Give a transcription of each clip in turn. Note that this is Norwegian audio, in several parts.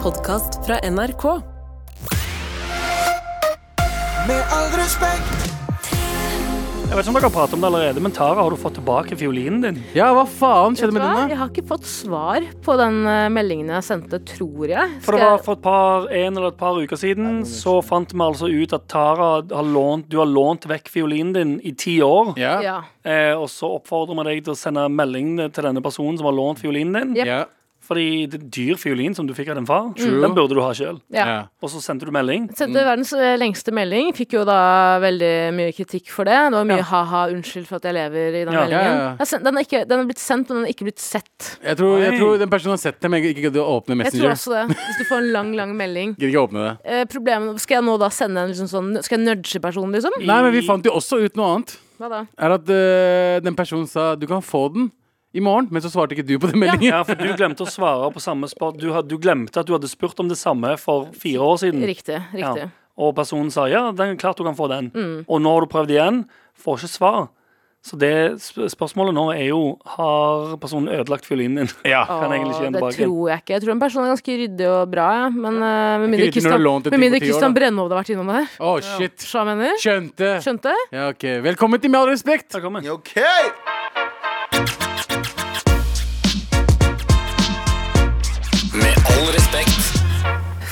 podkast fra NRK. Med all respekt, Jeg vet ikke om dere har pratet om det allerede, men Tara, har du fått tilbake fiolinen din? Ja, hva faen skjedde med Vet du hva? denne? Jeg har ikke fått svar på den eh, meldingen jeg sendte, tror jeg. For Skal det var jeg... for et par, en eller et par uker siden, så fant vi altså ut at Tara har lånt, du har lånt vekk fiolinen din i ti år. Ja. Ja. Eh, og så oppfordrer vi deg til å sende melding til denne personen som har lånt fiolinen din. Yep. Ja. Fordi det er en dyr fiolin som du fikk av din far, True. den burde du ha sjøl. Ja. Ja. Mm. Og så sendte du melding. Sendte verdens eh, lengste melding. Fikk jo da veldig mye kritikk for det. Det var mye Ja. ha-ha, unnskyld for at jeg lever i den Ja. meldingen. Ja, ja, ja. Jeg sen- Den, er ikke, den er blitt sendt, men den er ikke blitt sett. Jeg, tror, jeg Oi. tror den personen har sett det, men ikke gidder å åpne Jeg tror Messenger. også det. Hvis du får en lang, lang melding. Gidder ikke å åpne det. Eh, problemet, skal jeg nå da sende en liksom sånn Skal jeg nudge personen, liksom? I- Nei, men vi fant jo også ut noe annet. Hva da? Er at øh, den personen sa du kan få den i morgen, men så svarte ikke du på den meldingen. Ja, for du glemte å svare på samme spør... Du, had- du glemte at du hadde spurt om det samme for fire år Mm. siden. Riktig. riktig. Mm. Ja. Og personen sa ja, den, klart du kan få den. Og nå har du prøvd igjen, får ikke svar. Så det sp- spørsmålet nå er jo har personen ødelagt fiolinen din. Kan egentlig ikke Åh, igjen det tilbake. tror jeg ikke. Jeg tror en person er ganske ryddig og bra, ja. men eh, med ryddig når du mindre har Kristian- lånt det med til på mindre ti år, Kristian da. Brennhovd har vært innom det her. Å, shit. Skjønner du hva jeg mener? Skjønte. Skjønte? Ja, ok. Velkommen til Med all respekt. Velkommen. OK?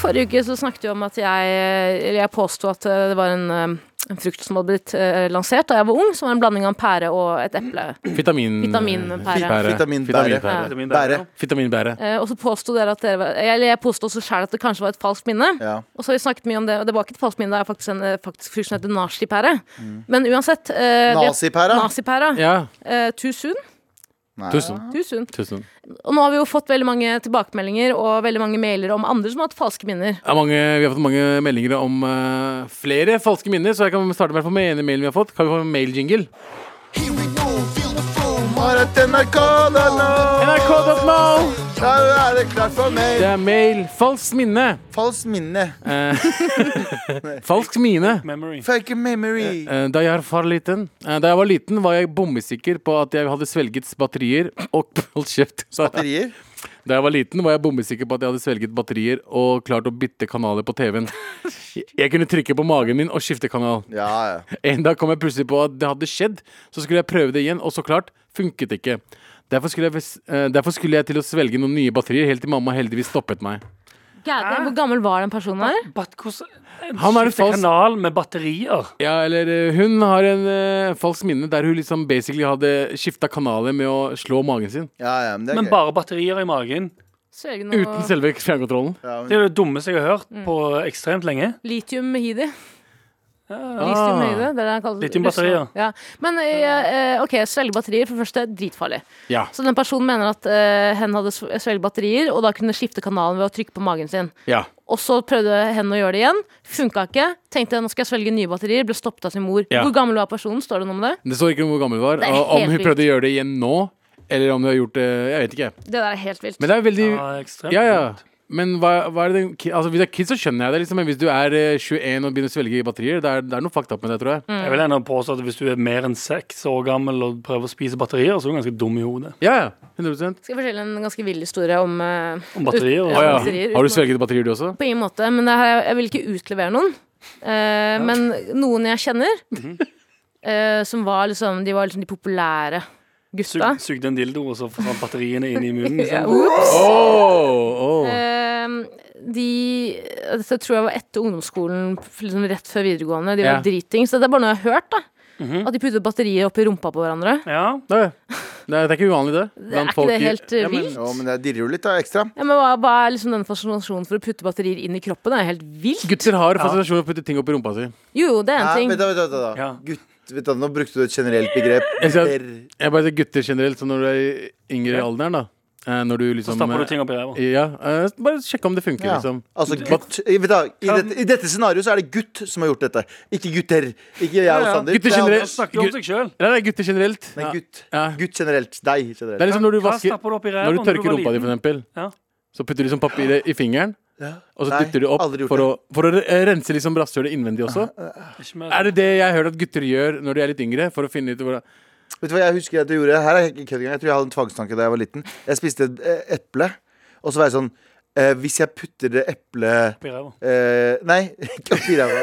Forrige uke så snakket vi om at jeg Eller jeg påsto at eh, det var en, eh, en frukt som hadde blitt eh, lansert da jeg var ung, som var en blanding av en pære og et eple. Vitamin... Vitaminpære. Pære. Vitaminpære. Vitaminpære. Vitamin D. Bære. Vitaminpære. Eh, og så påsto dere at dere var, Eller jeg påsto også sjøl at det kanskje var et falskt minne. Ja. Og så har vi snakket mye om det, og det var ikke et falskt minne, det er faktisk en eh, faktisk frukt som heter nazipære. Men uansett eh, vi- Nazipæra? Nazipæra. Ja. Eh, too soon. Nei. Tusen. Too soon. Tusen. Og nå har vi jo fått veldig mange tilbakemeldinger og veldig mange mailer om andre som har hatt falske minner. Det er mange, vi har fått mange meldinger om øh, flere falske minner, så jeg kan starte med, med ene mailen vi har fått. Kan vi få en mailjingle? Here we go, feel the flow. Marit NRK, da nå. NRK.no! Da er det klart for Det mer. er mail. Falskt minne. Eh, Falskt minne. Falskt mine. Memory. Fake memory. Eh, Da jeg, var liten, eh, da jeg var liten, var jeg bombesikker på at jeg hadde svelget batterier og Hold kjeft. Da Batterier. jeg var liten, var jeg bombesikker på at jeg hadde svelget batterier og klart å bytte kanaler på TV-en. Jeg kunne trykke på magen min og skifte kanal. Ja, ja. En dag kom jeg plutselig på at det hadde skjedd, så skulle jeg prøve det igjen, og så klart funket det ikke. Derfor skulle, jeg, ves- eh, derfor skulle jeg til å svelge noen nye batterier, helt til mamma heldigvis stoppet meg. Gæren, hvor gammel var den personen her? Bat- hvordan- Han er et Skifte falskt- kanal med batterier. Ja, eller eh, hun har en eh, falsk minne der hun liksom basically hadde skifta kanaler med å slå magen sin. ja, ja men det er Men gøy. bare batterier i magen. Svelge Uten noe selve fjernkontrollen. Ja, Det er det dummeste jeg har hørt Mm. på ekstremt lenge. litium-hidi. Ah. Litium-hidi, det er det jeg kaller det. Litium-batterier. Russland. Ja. Men eh, eh, OK, svelge batterier, for det første, dritfarlig. Ja. Så den personen mener at eh, hen hadde sv- svelget batterier, og da kunne skifte kanalen ved å trykke på magen sin. ja. Og så prøvde hen å gjøre det igjen. Funka ikke. Tenkte nå skal jeg svelge nye batterier. Ble stoppet av sin mor. Ja. Hvor gammel var personen? Står det noe om det? Det står ikke om hvor gammel hun var. Det er Og om helt hun vilt. prøvde å gjøre det igjen nå, eller om hun har gjort det Jeg vet ikke. Det der er helt vilt. Men det er veldig Ja, ekstremt. Ja, ja. Men hva, hva er det den ki- Altså, hvis du er kid, så skjønner jeg det, liksom. Men hvis du er eh, 21 og begynner å svelge batterier, det er, det er noe fucked up med det, tror jeg. Mm. Jeg vil ennå påstå at hvis du er mer enn seks år gammel og prøver å spise batterier, så er du ganske dum i hodet. Ja, ja. 100 Skal jeg fortelle en ganske vill historie om eh, Om batterier Å og ja. Batterier, Har du uten- svelget batterier, du også? På ingen måte, men det her, jeg vil ikke utlevere noen. Eh, Men noen jeg kjenner, Mhm. eh, som var liksom De var liksom de populære sug, gutta. sugde en dildo, og så forsvant batteriene inn i munnen. Ja, Liksom. whoops. Oh, oh. Eh, de Dette tror jeg var etter ungdomsskolen, liksom rett før videregående. De var Ja. Mhm. dritings. Det er bare noe jeg har hørt. da At de puttet batterier oppi rumpa på hverandre. Ja. Nei, det er det er ikke uvanlig, det. Er Blant ikke folk i- det helt eh, Ja, men- vilt? Jo, men det dirrer jo litt da, ekstra. Ja, men hva, hva er liksom den fascinasjonen for å putte batterier inn i kroppen? Det er helt vilt. Gutter har fascinasjon for å putte ting opp i rumpa si. Jo, jo, det er en Ja, vent, ting. da, vent, da, vent, da. Ja. Gutt, vet du, nå brukte du et generelt begrep. Jeg sier at- Der- Jeg bare sier gutter generelt, så når du er i yngre alderen, da. eh, Når du Så liksom stapper eh, du ting opp i ræva. Ja, eh, bare sjekke om det funker, Ja. liksom. Altså, gutt, i, vet du, i, dette, I dette scenarioet så er det gutt som har gjort dette. Ikke gutter. Ikke jeg og ja. Sander. Gutter Det er generelt. Anders. Snakker om seg sjøl. Nei, nei, gutter generelt. Nei, Ja. gutt. Ja. Gutt generelt. Deg Det er generelt. liksom når du Hva vasker stapper du opp i ræva Når du tørker var rumpa di, for liten? eksempel, Ja. så putter du liksom papiret i fingeren, og så Nei, dytter du opp aldri gjort for å, for å re- rense liksom rasshølet innvendig også. Ikke mer. Er det det jeg har hørt at gutter gjør når de er litt yngre? For å finne ut hvordan Vet du hva jeg husker at jeg gjorde? Her er jeg ikke kødd engang. Jeg tror jeg hadde en tvangstanke da jeg var liten. Jeg spiste et eh, eple, og så var jeg sånn eh, hvis jeg putter det eple... Oppi ræva. Eh, nei, ikke oppi ræva.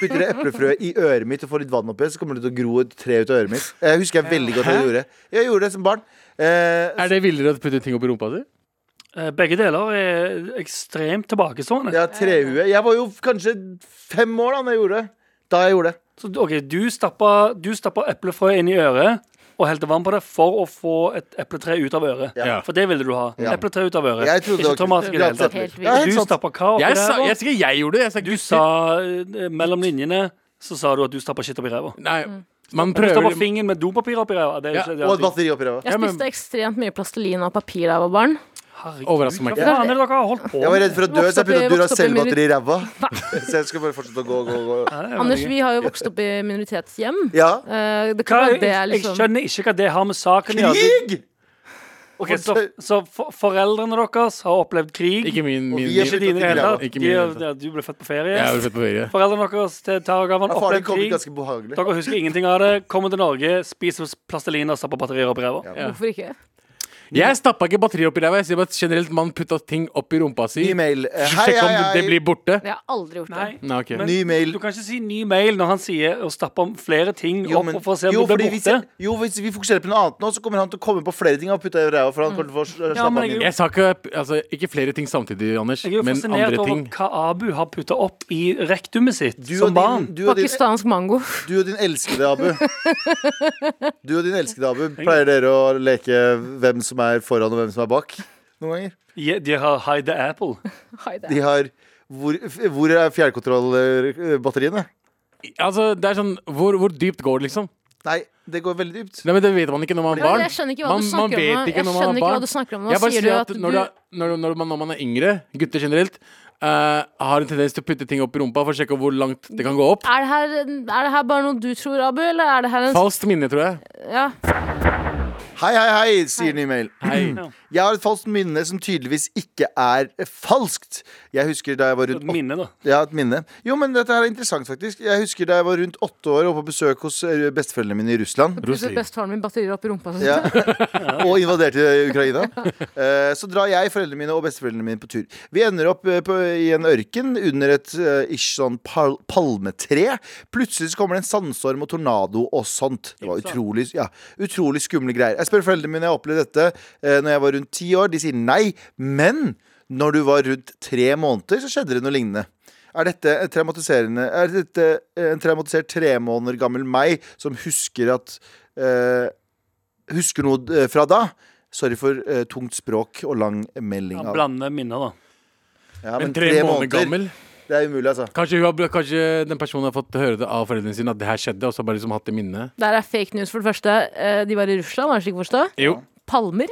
Putter det eplefrø i øret mitt og får litt vann oppi, så kommer det til å gro et tre ut av øret mitt. Jeg husker jeg veldig godt at jeg gjorde. Jeg gjorde det som barn. Eh, Er det villere å putte ting opp i rumpa di? Eh, Begge deler er ekstremt tilbakestående. ja, trehue. Jeg var jo kanskje fem år da når jeg gjorde det. Da jeg gjorde det. Så ok, du stappa, du stappa eplefrø inn i øret og helte vann på det for å få et epletre ut av øret. Ja. For det ville du ha. Ja. Epletre ut av øret. Jeg trodde Ikke det var traumatisk i det hele tatt. Helt Ja, helt Du sant. stappa hva oppi sånn- Jeg sa, ræva? jeg, sier jeg gjorde det. Jeg sa, Du sa eh, mellom linjene så sa du at du stappa shit oppi ræva. Nei, man Men Mm. Du prøver stappa fingeren med dopapir oppi ræva. Det er Ja, ikke, det er Og et alltid- batteri oppi ræva. Jeg Ja, men- spiste ekstremt mye plastelin og papir da jeg var barn. Herregud, Overrasker meg hva ikke. faen er det dere har holdt på Jeg var redd for å dø, Vokste så jeg puttet opp i- vokste opp i Duracell-batteri i ræva. Så jeg skal bare fortsette å gå, gå, gå. Nei, jeg Anders, vet ikke. vi har jo vokst opp i minoritetshjem. Ja. Eh, det hva, kan være jeg, det er jeg liksom skjønner ikke hva det har med saken å gjøre. Du- Krig! Ok, så, så for, foreldrene deres har opplevd krig. Ikke min, Og min, vi er Ikke min. slutt- dine i det hele tatt. Ikke De min, er- altså. ja, Du ble født på ferie. Jeg er vel født på ferie. Foreldrene deres til terrorgaven Ja, Faren opplevde din kom ut krig. ganske behagelig. Dere husker ingenting av det. Kommer til Norge, spiser plastelin og stapper batterier opp i ræva. Ja. Hvorfor ikke? Jeg stappa ikke batteriet opp i ræva. Jeg sier bare at generelt man putta ting opp i rumpa si. Ny mail. Eh, Hei, Sjekk om hei, det hei. blir borte. Jeg har aldri gjort det. Nei. Nei, ok. Men- Ny mail. Du kan ikke si ny mail når han sier å stappe flere ting Jo, opp men- og for å se om jo, det blir fordi borte. Hvis, jo, hvis vi fokuserer på noe annet nå, så kommer han til å komme på flere ting han har putta i ræva. For han kommer til å få slappe Mm. Ja, men av jeg- mye. Jeg sa ikke, altså, ikke flere ting samtidig, Anders, Jeg er jo men fascinert andre over ting. hva Abu har putta opp i rektumet sitt Du og som barn. din- du og din- Pakistansk mango. du og din elskede Abu Du og din elskede Abu Pleier dere å leke hvem som er foran og hvem som er bak? Noen ganger. Ja, De har Hide the Apple. Hei, det De er- har Hvor, f- hvor er fjernkontrollbatteriene? Altså, det er sånn, hvor, hvor dypt går det, liksom? Nei, det går veldig dypt. Nei, men Det vet man ikke når man er Nei, barn. jeg skjønner ikke hva man, du man snakker vet om. nå. ikke Jeg når man skjønner er ikke hva barn. du snakker om. Nå Jeg bare sier du sier at at når, du... er- når, når, man, når man er yngre, gutter generelt, eh, har en tendens til å putte ting opp i rumpa for å sjekke hvor langt det kan gå opp. Er det, her, er det her bare noe du tror, Abu, eller er det her en Falskt minne, tror jeg. ja. Hei, hei, hei, sier ny mail. Hei. Jeg har et falskt minne som tydeligvis ikke er eh, falskt. Jeg husker da jeg var rundt Et minne, da. Ja, et minne. Jo, men dette her er interessant, faktisk. Jeg husker da jeg var rundt åtte år og på besøk hos eh, besteforeldrene mine i Russland. Plutselig bestefaren min batterier opp i rumpa. Så. Ja. og invaderte Ukraina. Eh, Så drar jeg, foreldrene mine og besteforeldrene mine på tur. Vi ender opp eh, på, i en ørken under et eh, ish sånn pal palmetre. Plutselig så kommer det en sandstorm og tornado og sånt. Det var utrolig, ja, utrolig skumle greier. Jeg spør foreldrene mine, jeg opplevde dette eh, når jeg var rundt ti år. De sier nei, men når du var rundt tre måneder, så skjedde det noe lignende. Er dette, en traumatiserende, er dette eh, en traumatisert tre måneder gammel meg som husker at eh, husker noe eh, fra da. Sorry for eh, tungt språk og lang melding. Han av- blander minner, da. Ja, Men tre måneder gammel. Det er umulig, altså. Kanskje, hun har, kanskje den personen har fått høre det av foreldrene sine at det her skjedde, og så har bare liksom hatt det minnet. Der er fake news, for det første. Eh, De var i Russland, var det slik å forstå? Jo. Palmer?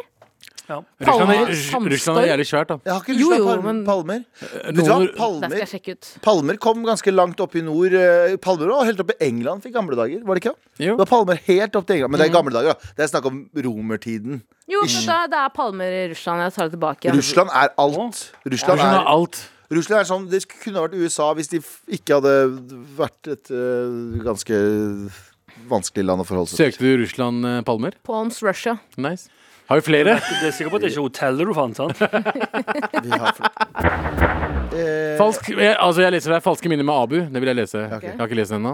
Ja. Russland er, Palmer, Russland er jævlig svært, da. Jeg har ikke Jo, lyst til jo, palmer. men- palmer. Eh, Vet du hva? Noen- Der skal jeg Palmer, sjekke ut. palmer kom ganske langt opp i nord. eh, Palmer og helt opp i England fikk gamle dager. Var det ikke? det? Jo. Det var palmer helt opp til England. Men det er Mm. gamle dager, da. Det er snakk om romertiden. Jo, men da, det er palmer i Russland. Jeg tar det tilbake. Russland er alt. Russland Russland er, har alt. Russland er sånn Det kunne vært USA hvis de f- ikke hadde vært et eh, ganske vanskelig land å forholde seg til. Søkte du Russland eh, palmer? Palms Russia. Nice. Har vi flere? Det er sikkert på at det ikke er hotellet du fant, sant? Vi har fl- Eh, Falsk, jeg, altså jeg leser det er falske minner med Abu. Det vil jeg lese. Ok. Jeg har ikke lest den ennå.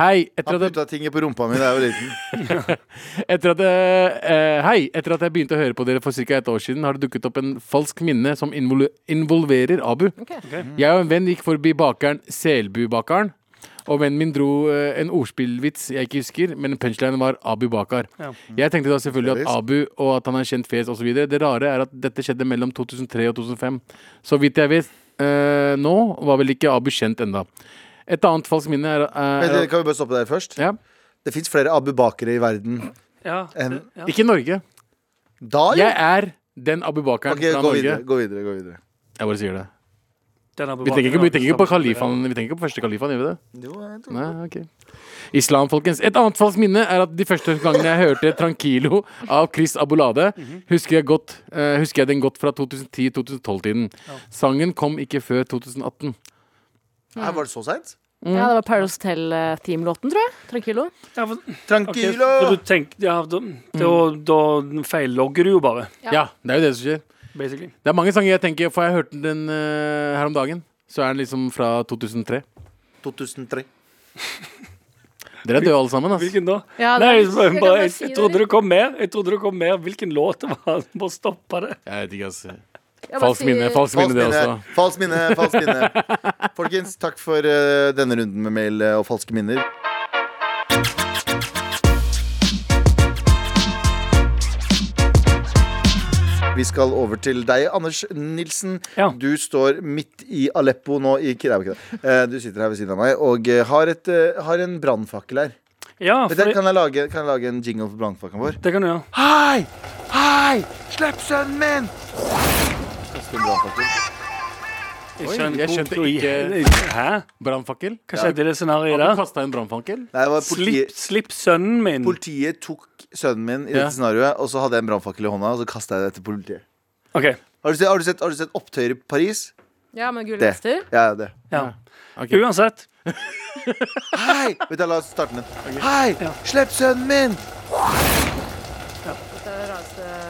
Hei, etter Han at, jeg, putta tinget på rumpa mi da jeg var liten. etter, at, jeg- eh, hei, etter at jeg begynte å høre på dere for ca. et år siden, har det dukket opp en falsk minne som invol involverer Abu. Ok. Mm. Jeg og en venn gikk forbi bakeren Selbubakeren. Og vennen min dro eh, en ordspillvits jeg ikke husker, men punchlinen var Abu Bakar. Mm. Ja. Jeg tenkte da selvfølgelig at Seriøst? Abu og at han er kjent fjes osv. Det rare er at dette skjedde mellom 2003 og 2005. Så vidt jeg vet eh, nå, var vel ikke Abu kjent enda. Et annet falskt minne er, eh, Men er, det- Kan vi bare stoppe der først? ja, Det fins flere Abu Bakere i verden Ja. enn Ja. Ikke Norge. da, jo. Jeg er den Abu Bakeren Ok, fra gå Norge. videre, gå videre, gå videre. Jeg bare sier det. Den har Vi tenker ikke, vi tenker ikke på bevart- kalifaen Vi tenker ikke på første kalifaen, gjør vi det? Jo, jeg tror- Nei, ok Islam, folkens. Et annet falskt minne er at de første gangene jeg hørte 'Tranquilo' av Chris Abolade, Mhm. husker jeg, godt, eh, husker jeg den godt fra 2010-2012-tiden. Sangen kom ikke før 2018. Her var det så seint? Ja, det var Paradise Hotel-teamelåten, tror jeg. Tranquilo. Ja, for- ok, Tranquilo! Mm. så du tenker, ja, da, da, da feillogger du jo bare. Ja. Ja, det er jo det som skjer. basically. Det er mange sanger jeg tenker For jeg hørte den eh, her om dagen. Så er den liksom fra 2003. 2003. Dere er døde alle sammen, ass. Hvilken da? Ja, det Nei, er- jeg, bare, jeg kan bare jeg, si det, trodde eller? det kom mer. Jeg trodde det kom mer. Hvilken låt det var? Bare stoppa det. Jeg vet ikke, ass. Jeg bare Falskt minne, sier- falskt minne, Falskt det minne, også. falskt minne, falskt minne. Folkens, takk for eh, denne runden med mail eh, og falske minner. Vi skal over til deg, Anders Nilsen. Ja. Du står midt i Aleppo nå. I, nei, ikke det. Eh, Du sitter her ved siden av meg og eh, har, et, eh, har en brannfakkel her. Ja, Vet dere, fordi, kan, jeg lage, kan jeg lage en jingle for brannfakkelen vår? det kan du gjøre. Hei! Hei! Slipp sønnen min! Kaste en brannfakkel. Jeg Oi, skjønner jeg hvor- skjønte hvor i ikke- hel- Hæ? Brannfakkel? Hva skjedde i det scenarioet Har du der? kasta en brannfakkel? Nei, det var Slipp, politiet, slipp sønnen min. politiet tok sønnen min i Ja. dette scenarioet, og så hadde jeg en brannfakkel i hånda, og så kasta jeg det etter politiet. OK. Har du sett, har du sett, har du sett opptøyer i Paris? Ja, med gule Det. vester. Ja, det. Ja. Ok. Uansett. Hei! Vet du, la oss starte med den. Hei! Slipp sønnen min! Det er det rareste-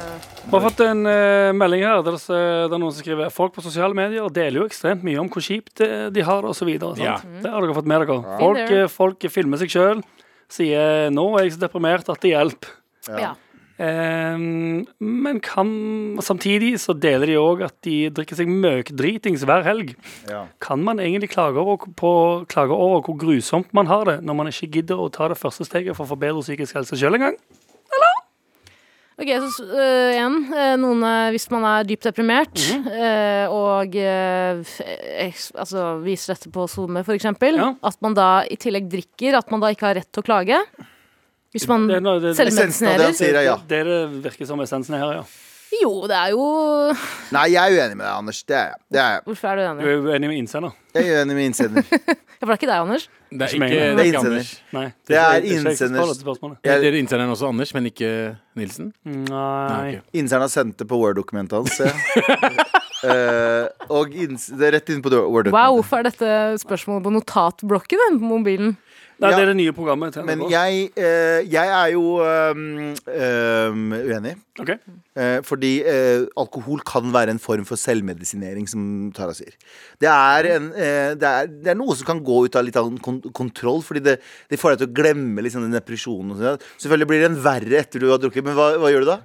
Vi har fått en eh, melding her der det det er noen som skriver folk på sosiale medier deler jo ekstremt mye om hvor kjipt eh, de har det, osv. Ja. Det har dere fått med dere. Folk, Been there. eh, folk filmer seg sjøl, sier 'nå er jeg så deprimert at det hjelper'. Ja. Ehm, men kan, samtidig så deler de òg at de drikker seg møkdritings hver helg. Ja. Kan man egentlig klage over, på, klage over hvor grusomt man har det, når man ikke gidder å ta det første steget for å forbedre psykisk helse sjøl engang? Ok, så s- øh, igjen. øh, Noen, øh, hvis man er dypt deprimert øh, og øh, f- eks- altså, viser dette på SoMe, for eksempel, Ja. at man da i tillegg drikker, at man da ikke har rett til å klage Hvis man Det er noe- det- Essensen av det han selvmeditsinerer sier, er ja. Det det virker som essensen er her, ja. Jo, det er jo Nei, jeg er uenig med deg, Anders. Det er jeg. Det er jeg. Hvorfor er Du du enig? er uenig med innsender. jeg er uenig med innsender. Ja, for det er ikke deg, Anders. Det er Ikke ikke, meg, det men- er Det er ikke Anders. Nei. Det er ikke- ikke innsenders- svaret på spørsmålet. Mm, Jeg- Dere innsenderen også Anders, men ikke Nilsen? Nei. ok. Innsenderen har sendt det på Word-dokumentet hans. se. Eh, og inns det er rett inn på Word-dokumentet. Wow, hvorfor er dette spørsmålet på notatblokken din på mobilen? Nei, det Ja. er det nye programmet til Men NRK. jeg, eh, jeg er jo ehm, ehm, uenig. Ok. Eh, fordi eh, alkohol kan være en form for selvmedisinering, som Tara sier. Det er, en, eh, det er, det er noe som kan gå ut av litt av en kon kontroll, fordi det, det får deg til å glemme liksom, den depresjonen. Og sånt. Selvfølgelig blir den verre etter du har drukket, men hva, hva gjør du da?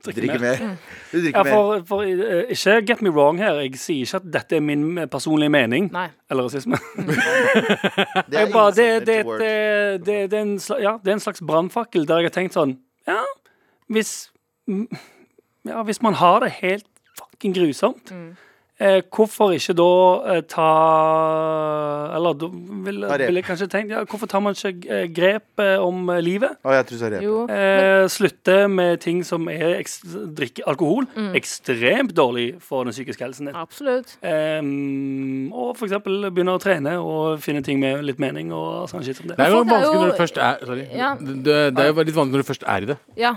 Drikker mer. Du drikker Ja, mer. for, for, eh, ikke get me wrong her. Jeg sier ikke at dette er min eh, personlige mening. Nei. Eller rasisme. Det Jeg bare, det, innsender det, til Word. det, det, det, er en slags, ja, det er en slags brannfakkel der jeg har tenkt sånn Ja, hvis mm, Ja, hvis man har det helt fucking grusomt, eh, hvorfor ikke da eh, ta Eller da ville Ta rep. vil jeg kanskje tenkt ja, Hvorfor tar man ikke eh, grep eh, om eh, livet? Å, jeg tror sorry. Jo. Eh, slutte med ting som er eks drikke alkohol. Ekstremt dårlig for den psykiske helsen din. Absolutt. Ehm, og for eksempel begynne å trene og finne ting med litt mening. og sånn shit som Det det. er jo Folk er vanskelig jo- når du først er Sorry. Ja. Det, det er jo litt vanskelig når du først er i det. Ja.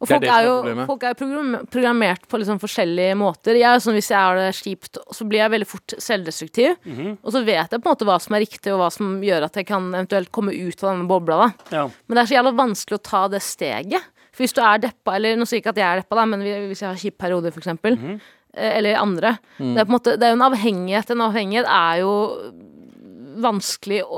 Og Det er folk det er, som er jo problemet. folk er jo program- programmert på liksom forskjellige måter. Jeg er jo sånn, Hvis jeg har det kjipt, så blir jeg veldig fort selvdestruktiv. Mhm. Og så vet jeg på en måte hva som er riktig, og hva som gjør at jeg kan eventuelt komme ut av denne bobla. da Ja. Men det er så jævla vanskelig å ta det steget. For hvis du er deppa, eller nå sier jeg ikke at jeg er deppa, da, men hvis jeg har kjipe perioder, f.eks. eksempel Mhm. eh, Eller andre. Mm. Det, er på en måte, det er jo en avhengighet. En avhengighet er jo vanskelig å,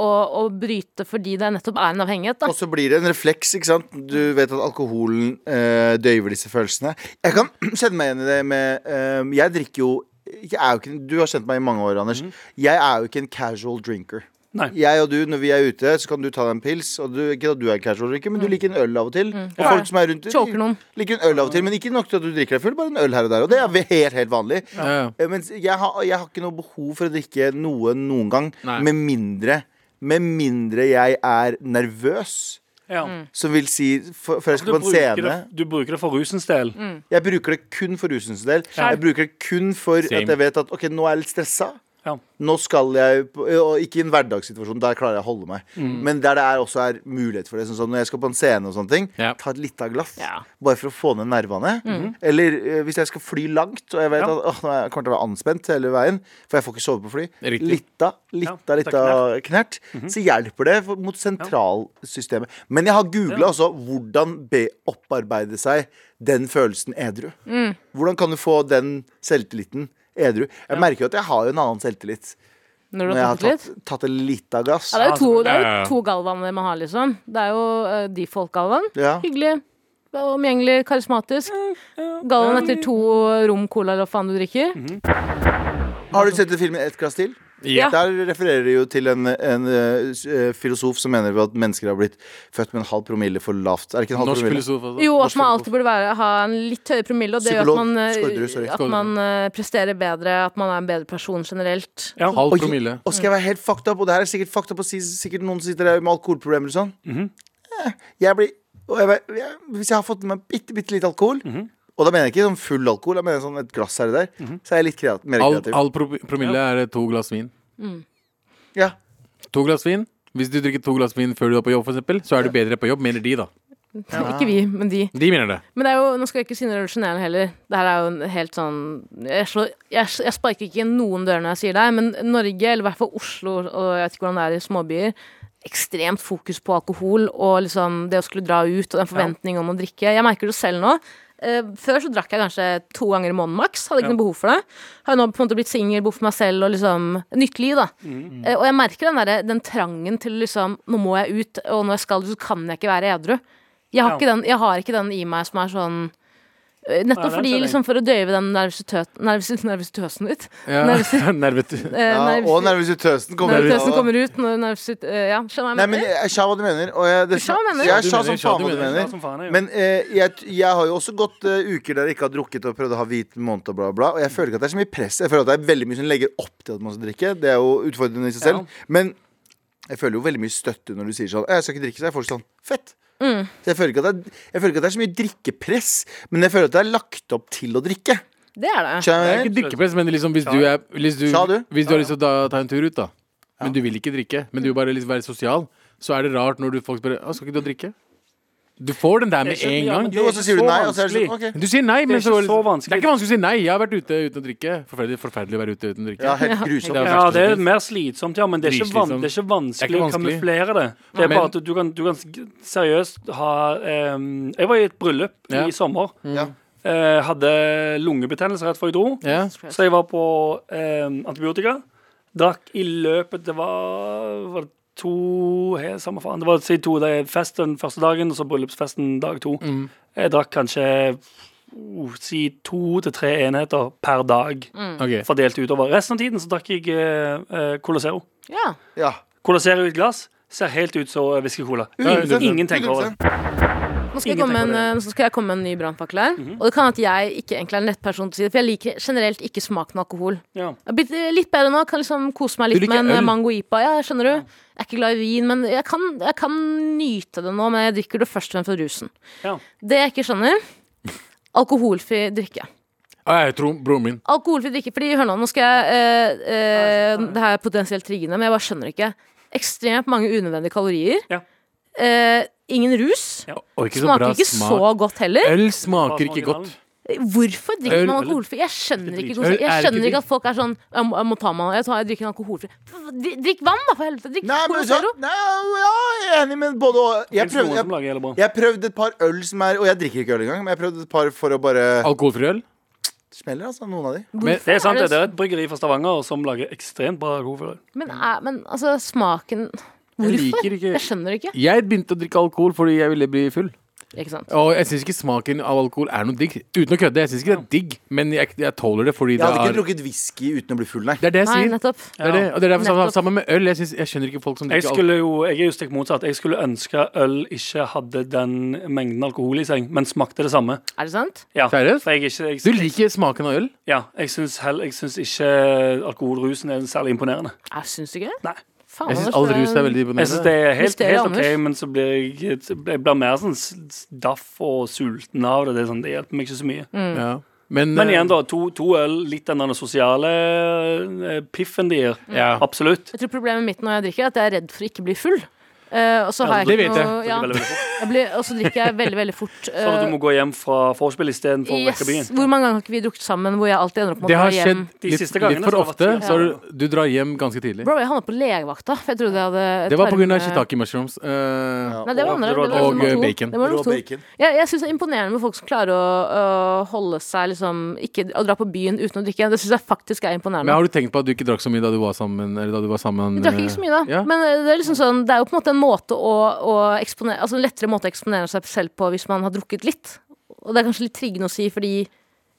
å bryte fordi det nettopp er en avhengighet. da Og så blir det en refleks, ikke sant? Du vet at alkoholen eh, døyver disse følelsene. Jeg kan kjenne meg igjen i det med eh, Jeg drikker jo jeg er jo ikke, Du har kjent meg i mange år, Anders. Jeg er jo ikke en casual drinker. Nei. Jeg og du, når vi er ute, så kan du ta deg en pils. Og du, ikke at du er en casual drinker, men du liker en øl av og til. Og folk som er rundt deg, Mm. Choker noen. liker en øl av og til, men ikke nok til at du drikker deg full. Bare en øl her og der. Og det er ve- helt, helt vanlig. Ja, ja. Eh, Mens jeg har, jeg har ikke noe behov for å drikke noe noen gang, Nei. med mindre Med mindre jeg er nervøs. Ja. Som vil si for- Før jeg Altså, Du, skal på en bruker scene det, Mm. du bruker det for rusens del. Jeg bruker det kun for rusens del. Ja. Jeg bruker det kun for Same. at jeg vet at Ok, nå er jeg litt stressa. Ja. Nå skal jeg på- og Ikke i en hverdagssituasjon, der klarer jeg å holde meg. Mm. Men der det er også er mulighet for det. Sånn som når jeg skal på en scene og sånne ting, Ja. ta et lite glass. Ja. Bare for å få ned nervene. Eller eh, hvis jeg skal fly langt, og jeg vet Mm. Ja. at åh, nå er jeg- kommer til å være anspent hele veien, for jeg får ikke sove på fly. Riktig. Litta, Ja, litta, det er litta knert. Så hjelper det for, mot sentralsystemet. Men jeg har googla Ja. også hvordan be opparbeide seg den følelsen edru. Mm. Hvordan kan du få den selvtilliten edru? Jeg merker jo at jeg har jo en annen selvtillit. Når Når du jeg har har tatt litt. tatt, tatt en lita gass. Ja, det er jo to, Altså, det er Ja, ja, ja. jo to galvaner man har, liksom. Det er jo eh, default-galvan. Ja. Hyggelig, omgjengelig, karismatisk. Galvan etter to rom cola eller hva faen du drikker. Har du sett den filmen Et glass til? Ja. Der refererer de jo til en, en eh, s- eh, filosof som mener at mennesker har blitt født med en halv promille for lavt. Er det ikke en halv Norsk promille? filosof, altså. Jo, at Norsk man filosof. alltid burde være, ha en litt høyere promille, og det gjør Psykolog at man, eh, Skårderud, sorry. at man eh, presterer bedre, at man er en bedre person generelt. Ja. Halv Oi. promille. Og skal jeg være helt fucked up, og det her er sikkert fucked up å si, sikkert noen sitter der med alkoholproblemer og sånn. Mhm. Eh, Jeg blir og jeg, vet- jeg, Hvis jeg har fått i meg bitte, bitte litt alkohol, Mhm. og da mener jeg ikke sånn full alkohol, jeg mener sånn et glass her og der, så er jeg litt kreativ, mer Halv, kreativ. halv pro promille er eh, to glass vin. Ja. To glass vin. Hvis du drikker to glass vin før du er på jobb, for eksempel, så er du bedre på jobb, mener de, da. Ikke vi, men de. De mener det. Men det er jo, nå skal jeg ikke si noe revolusjonerende heller. Det her er jo en helt sånn jeg, slår, jeg, jeg sparker ikke inn noen dører når jeg sier det, her, men Norge, eller i hvert fall Oslo, og jeg vet ikke hvordan det er i småbyer, ekstremt fokus på alkohol og liksom det å skulle dra ut og en forventning om å drikke. Jeg merker det selv nå. Eh, Før så drakk jeg kanskje to ganger i måneden maks. Hadde ikke noe behov for det. Har jo nå på en måte blitt singel, bodd for meg selv og liksom nytt liv, da. Mm. Mm. Eh, Og jeg merker den, derre- den trangen til liksom Nå må jeg ut, og når jeg skal ut, så kan jeg ikke være edru. Jeg har, Ja. ikke den, jeg har ikke den i meg som er sånn eh, Nei, Nettopp det er fordi, det. liksom for å døyve den nervøsitø- nervøs- nervøsitøsen ut. Ja. Nervet. Eh, ja nervøs- og nervøsitøsen kommer ut. nervøsitøsen av- kommer ut når nervøsit... eh, Ja, skjønner Nei, jeg men mener? jeg sa hva du mener. Og jeg, det, Du sa hva du mener. jeg Du sa mener, som sa faen du hva du mener. mener. Som faen er jo. Men eh, jeg, jeg har jo også gått eh, uker der jeg ikke har drukket og prøvd å ha hvit måned og bla, bla. Og jeg føler ikke at det er så mye press. Jeg føler at det er veldig mye som legger opp til at man skal drikke. Det er jo utfordrende i seg selv. Men jeg føler jo veldig mye støtte når du sier sånn Jeg skal ikke drikke, så er folk sånn Fett. Så jeg føler, ikke at det er, jeg føler ikke at det er så mye drikkepress, men jeg føler at det er lagt opp til å drikke. Det er det. Skjønner Det jeg er hva ikke jeg mener? drikkepress, men liksom hvis du er Hvis du, Sa du? hvis du har lyst til å ta, ta en tur ut, da. Men du vil ikke drikke, men du vil bare liksom være sosial. Så er det rart når du folk spør «Å, Skal ikke du drikke. Du får den der med Jeg skjønner, en ja, gang. men Jo, og så sier du Så nei, og så er det sånn OK. Du sier nei, men ikke så, så vanskelig. Det er ikke vanskelig å si nei. Jeg har vært ute uten å drikke. Forferdelig, forferdelig å være ute uten å drikke. Ja, helt grusomt. Det er Ja, verste det er som finnes. mer slitsomt, ja, men det er ikke, van, Dritslitsomt. det er ikke Det er vanskelig ikke å vanskelig. kamuflere det. Det er Men- bare at du kan, du kan s- seriøst ha em, Jeg var i et bryllup Ja. i sommer. Ja. Eh, hadde lungebetennelse rett før jeg dro, Ja. så jeg var på em, antibiotika. Drakk i løpet Det var, var det to he, Samme faen. Det var si to, det er fest den første dagen, og så bryllupsfesten dag to. Mm. Jeg drakk kanskje oh, si to til tre enheter per dag Mm. Ok. fordelt utover. Resten av tiden så drakk jeg eh, eh, Cola Zero. Ja. ja. Cola Zero i et glass ser helt ut som eh, whisky cola. Ingen, ingen tenker over det. Nå skal, jeg Ingen komme med en, tenker på eh, nå skal jeg komme med en ny brannfakkel her. Og det kan at jeg ikke egentlig er en lett person til å si det, for jeg liker generelt ikke smaken av alkohol. Ja. Jeg har blitt eh, litt bedre nå, kan liksom kose meg litt liker med en øl? eh, mango ipa. Ja, skjønner du? Jeg er ikke glad i vin, men jeg kan, jeg kan nyte det nå, men jeg drikker det først og fremst for rusen. Ja. Det jeg ikke skjønner Alkoholfri drikke. Å, Jeg tror broren min. Alkoholfri drikke, fordi hør nå, nå skal jeg eh, eh, Det her er potensielt triggende, men jeg bare skjønner ikke. Ekstremt mange unødvendige kalorier. Ja. Eh, ingen rus. Ja. Å, ikke så Smaker bra ikke smak. så godt heller. Øl smaker ikke Smaken av godt. Hvorfor drikker Øl- man alkoholfri? Jeg skjønner Øl ikke, er konsep- jeg ikke skjønner digg. ikke at folk er sånn Jeg må, jeg må ta meg en- jeg, tar, jeg drikker en alkoholfri Dri- Drikk vann, da, for helvete! Drikk Nei, men Cola så, Zero. nei, ja, jeg er enig, men både og. Finnes Jeg det noen prøvde, som lager hele bra? Jeg prøvde et par øl som er Og jeg drikker ikke øl engang, men jeg prøvde et par for å bare Alkoholfri øl? smeller, altså. Noen av de. Men- Hvorfor Det er sant, er det er et bryggeri fra Stavanger som lager ekstremt bra alkohol. Men, er, men altså, smaken Hvorfor? Jeg, liker ikke- skjønner ikke. Jeg begynte å drikke alkohol fordi jeg ville bli full. Ikke sant? Og jeg syns ikke smaken av alkohol er noe digg. Uten å kødde. Jeg syns ikke det er digg, men jeg, jeg tåler det fordi Jeg det hadde ikke er drukket whisky uten å bli full, nei. Det er det jeg Nei, sier. nettopp. Det er det. Og det er derfor Nettopp. sammen, sammen med øl. Jeg, synes, jeg skjønner ikke folk som Jeg, drikker alkohol. skulle jo, jeg er jo stikk motsatt. Jeg skulle ønske øl ikke hadde den mengden alkohol i seg, men smakte det samme. Er det sant? Ja, Seriøst? for jeg, er ikke, Du jeg, liker smaken av øl? ja, jeg syns hell- jeg syns ikke alkoholrusen er særlig imponerende. Jeg syns ikke det. Nei. Faen, altså, Jeg syns Anders, all det er- rus er veldig Jeg syns imponerende. det er helt, Mysteriet, helt OK, Anders. men så blir jeg, Mm. jeg blir mer sånn s- s- daff og sulten av det. Det, er sånn, det hjelper meg ikke så mye. Ja. Men, Men igjen, eh, da. To, to øl, litt den der sosiale eh, piffen de gir. Ja. Absolutt. Jeg tror problemet mitt når jeg drikker, er at jeg er redd for å ikke bli full. Eh, og så har jeg det ikke vet jeg. noe ja, Veldig, veldig fort. jeg blir, Og så drikker jeg veldig, veldig fort. eh, Sånn at du må gå hjem fra vorspiel istedenfor å rekke yes, byen. hvor mange ganger har ikke vi drukket sammen hvor jeg alltid ender opp med det å har dra hjem? skjedd De litt, siste litt gangene for så har det ofte. vært- Så har du, du drar hjem ganske tidlig. Bro, jeg havna på legevakta, for jeg trodde jeg hadde Det var tarm- pga. shiitake mushrooms. eh, Nei, det Og- var andre. Det var sånn- og nummer to. bacon. Det var Rå nummer to. bacon. Jeg, jeg syns det er imponerende med folk som klarer å, å holde seg liksom Ikke å dra på byen uten å drikke. Det syns jeg faktisk er Men imponerende. har du tenkt på at du ikke drakk så mye da du var sammen? Eller da du var sammen Vi drakk ikke så mye da, eh, ja? men det er liksom sånn Det er jo på en måte en måte å, å eksponere Altså en lettere måte å eksponere seg selv på hvis man har drukket litt. Og det er kanskje litt triggende å si, fordi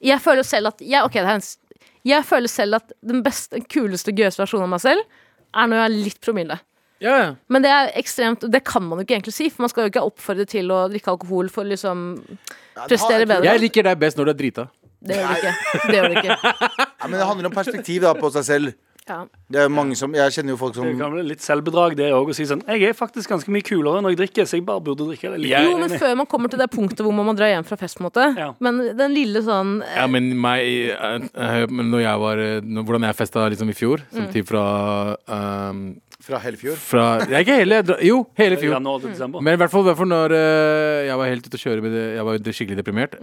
jeg føler selv at jeg, Ok, det er en s- Jeg føler selv at den beste, den kuleste, gøyeste versjonen av meg selv er når jeg har litt promille. Ja, ja. Men det er ekstremt Det kan man jo ikke egentlig si, for man skal jo ikke oppfordre til å drikke alkohol for liksom Ja, det har- prestere bedre. Jeg liker deg best når du er drita. Det gjør det ikke. Det gjør det ikke. Ja, men det handler om perspektiv da, på seg selv. Ja. Det er mange som, jeg kjenner jo folk som Det kan bli litt selvbedrag, det òg, å si sånn Jeg er faktisk ganske mye kulere når jeg drikker, så jeg bare burde drikke. Det er litt Jeg- Jo, men før man kommer til det punktet hvor man må dra hjem fra fest, på en måte. Ja. Men den lille sånn eh, Ja, men meg eh, eh, men når jeg var, eh, når, Hvordan jeg festa liksom i fjor, som Mm. tid fra ehm, fra Hellfjord Fra Jeg er ikke hele jeg dra- Jo, hele fjor. Januar til desember. Men i hvert fall derfor når eh, jeg var helt ute å kjøre med det, Jeg var jo skikkelig deprimert.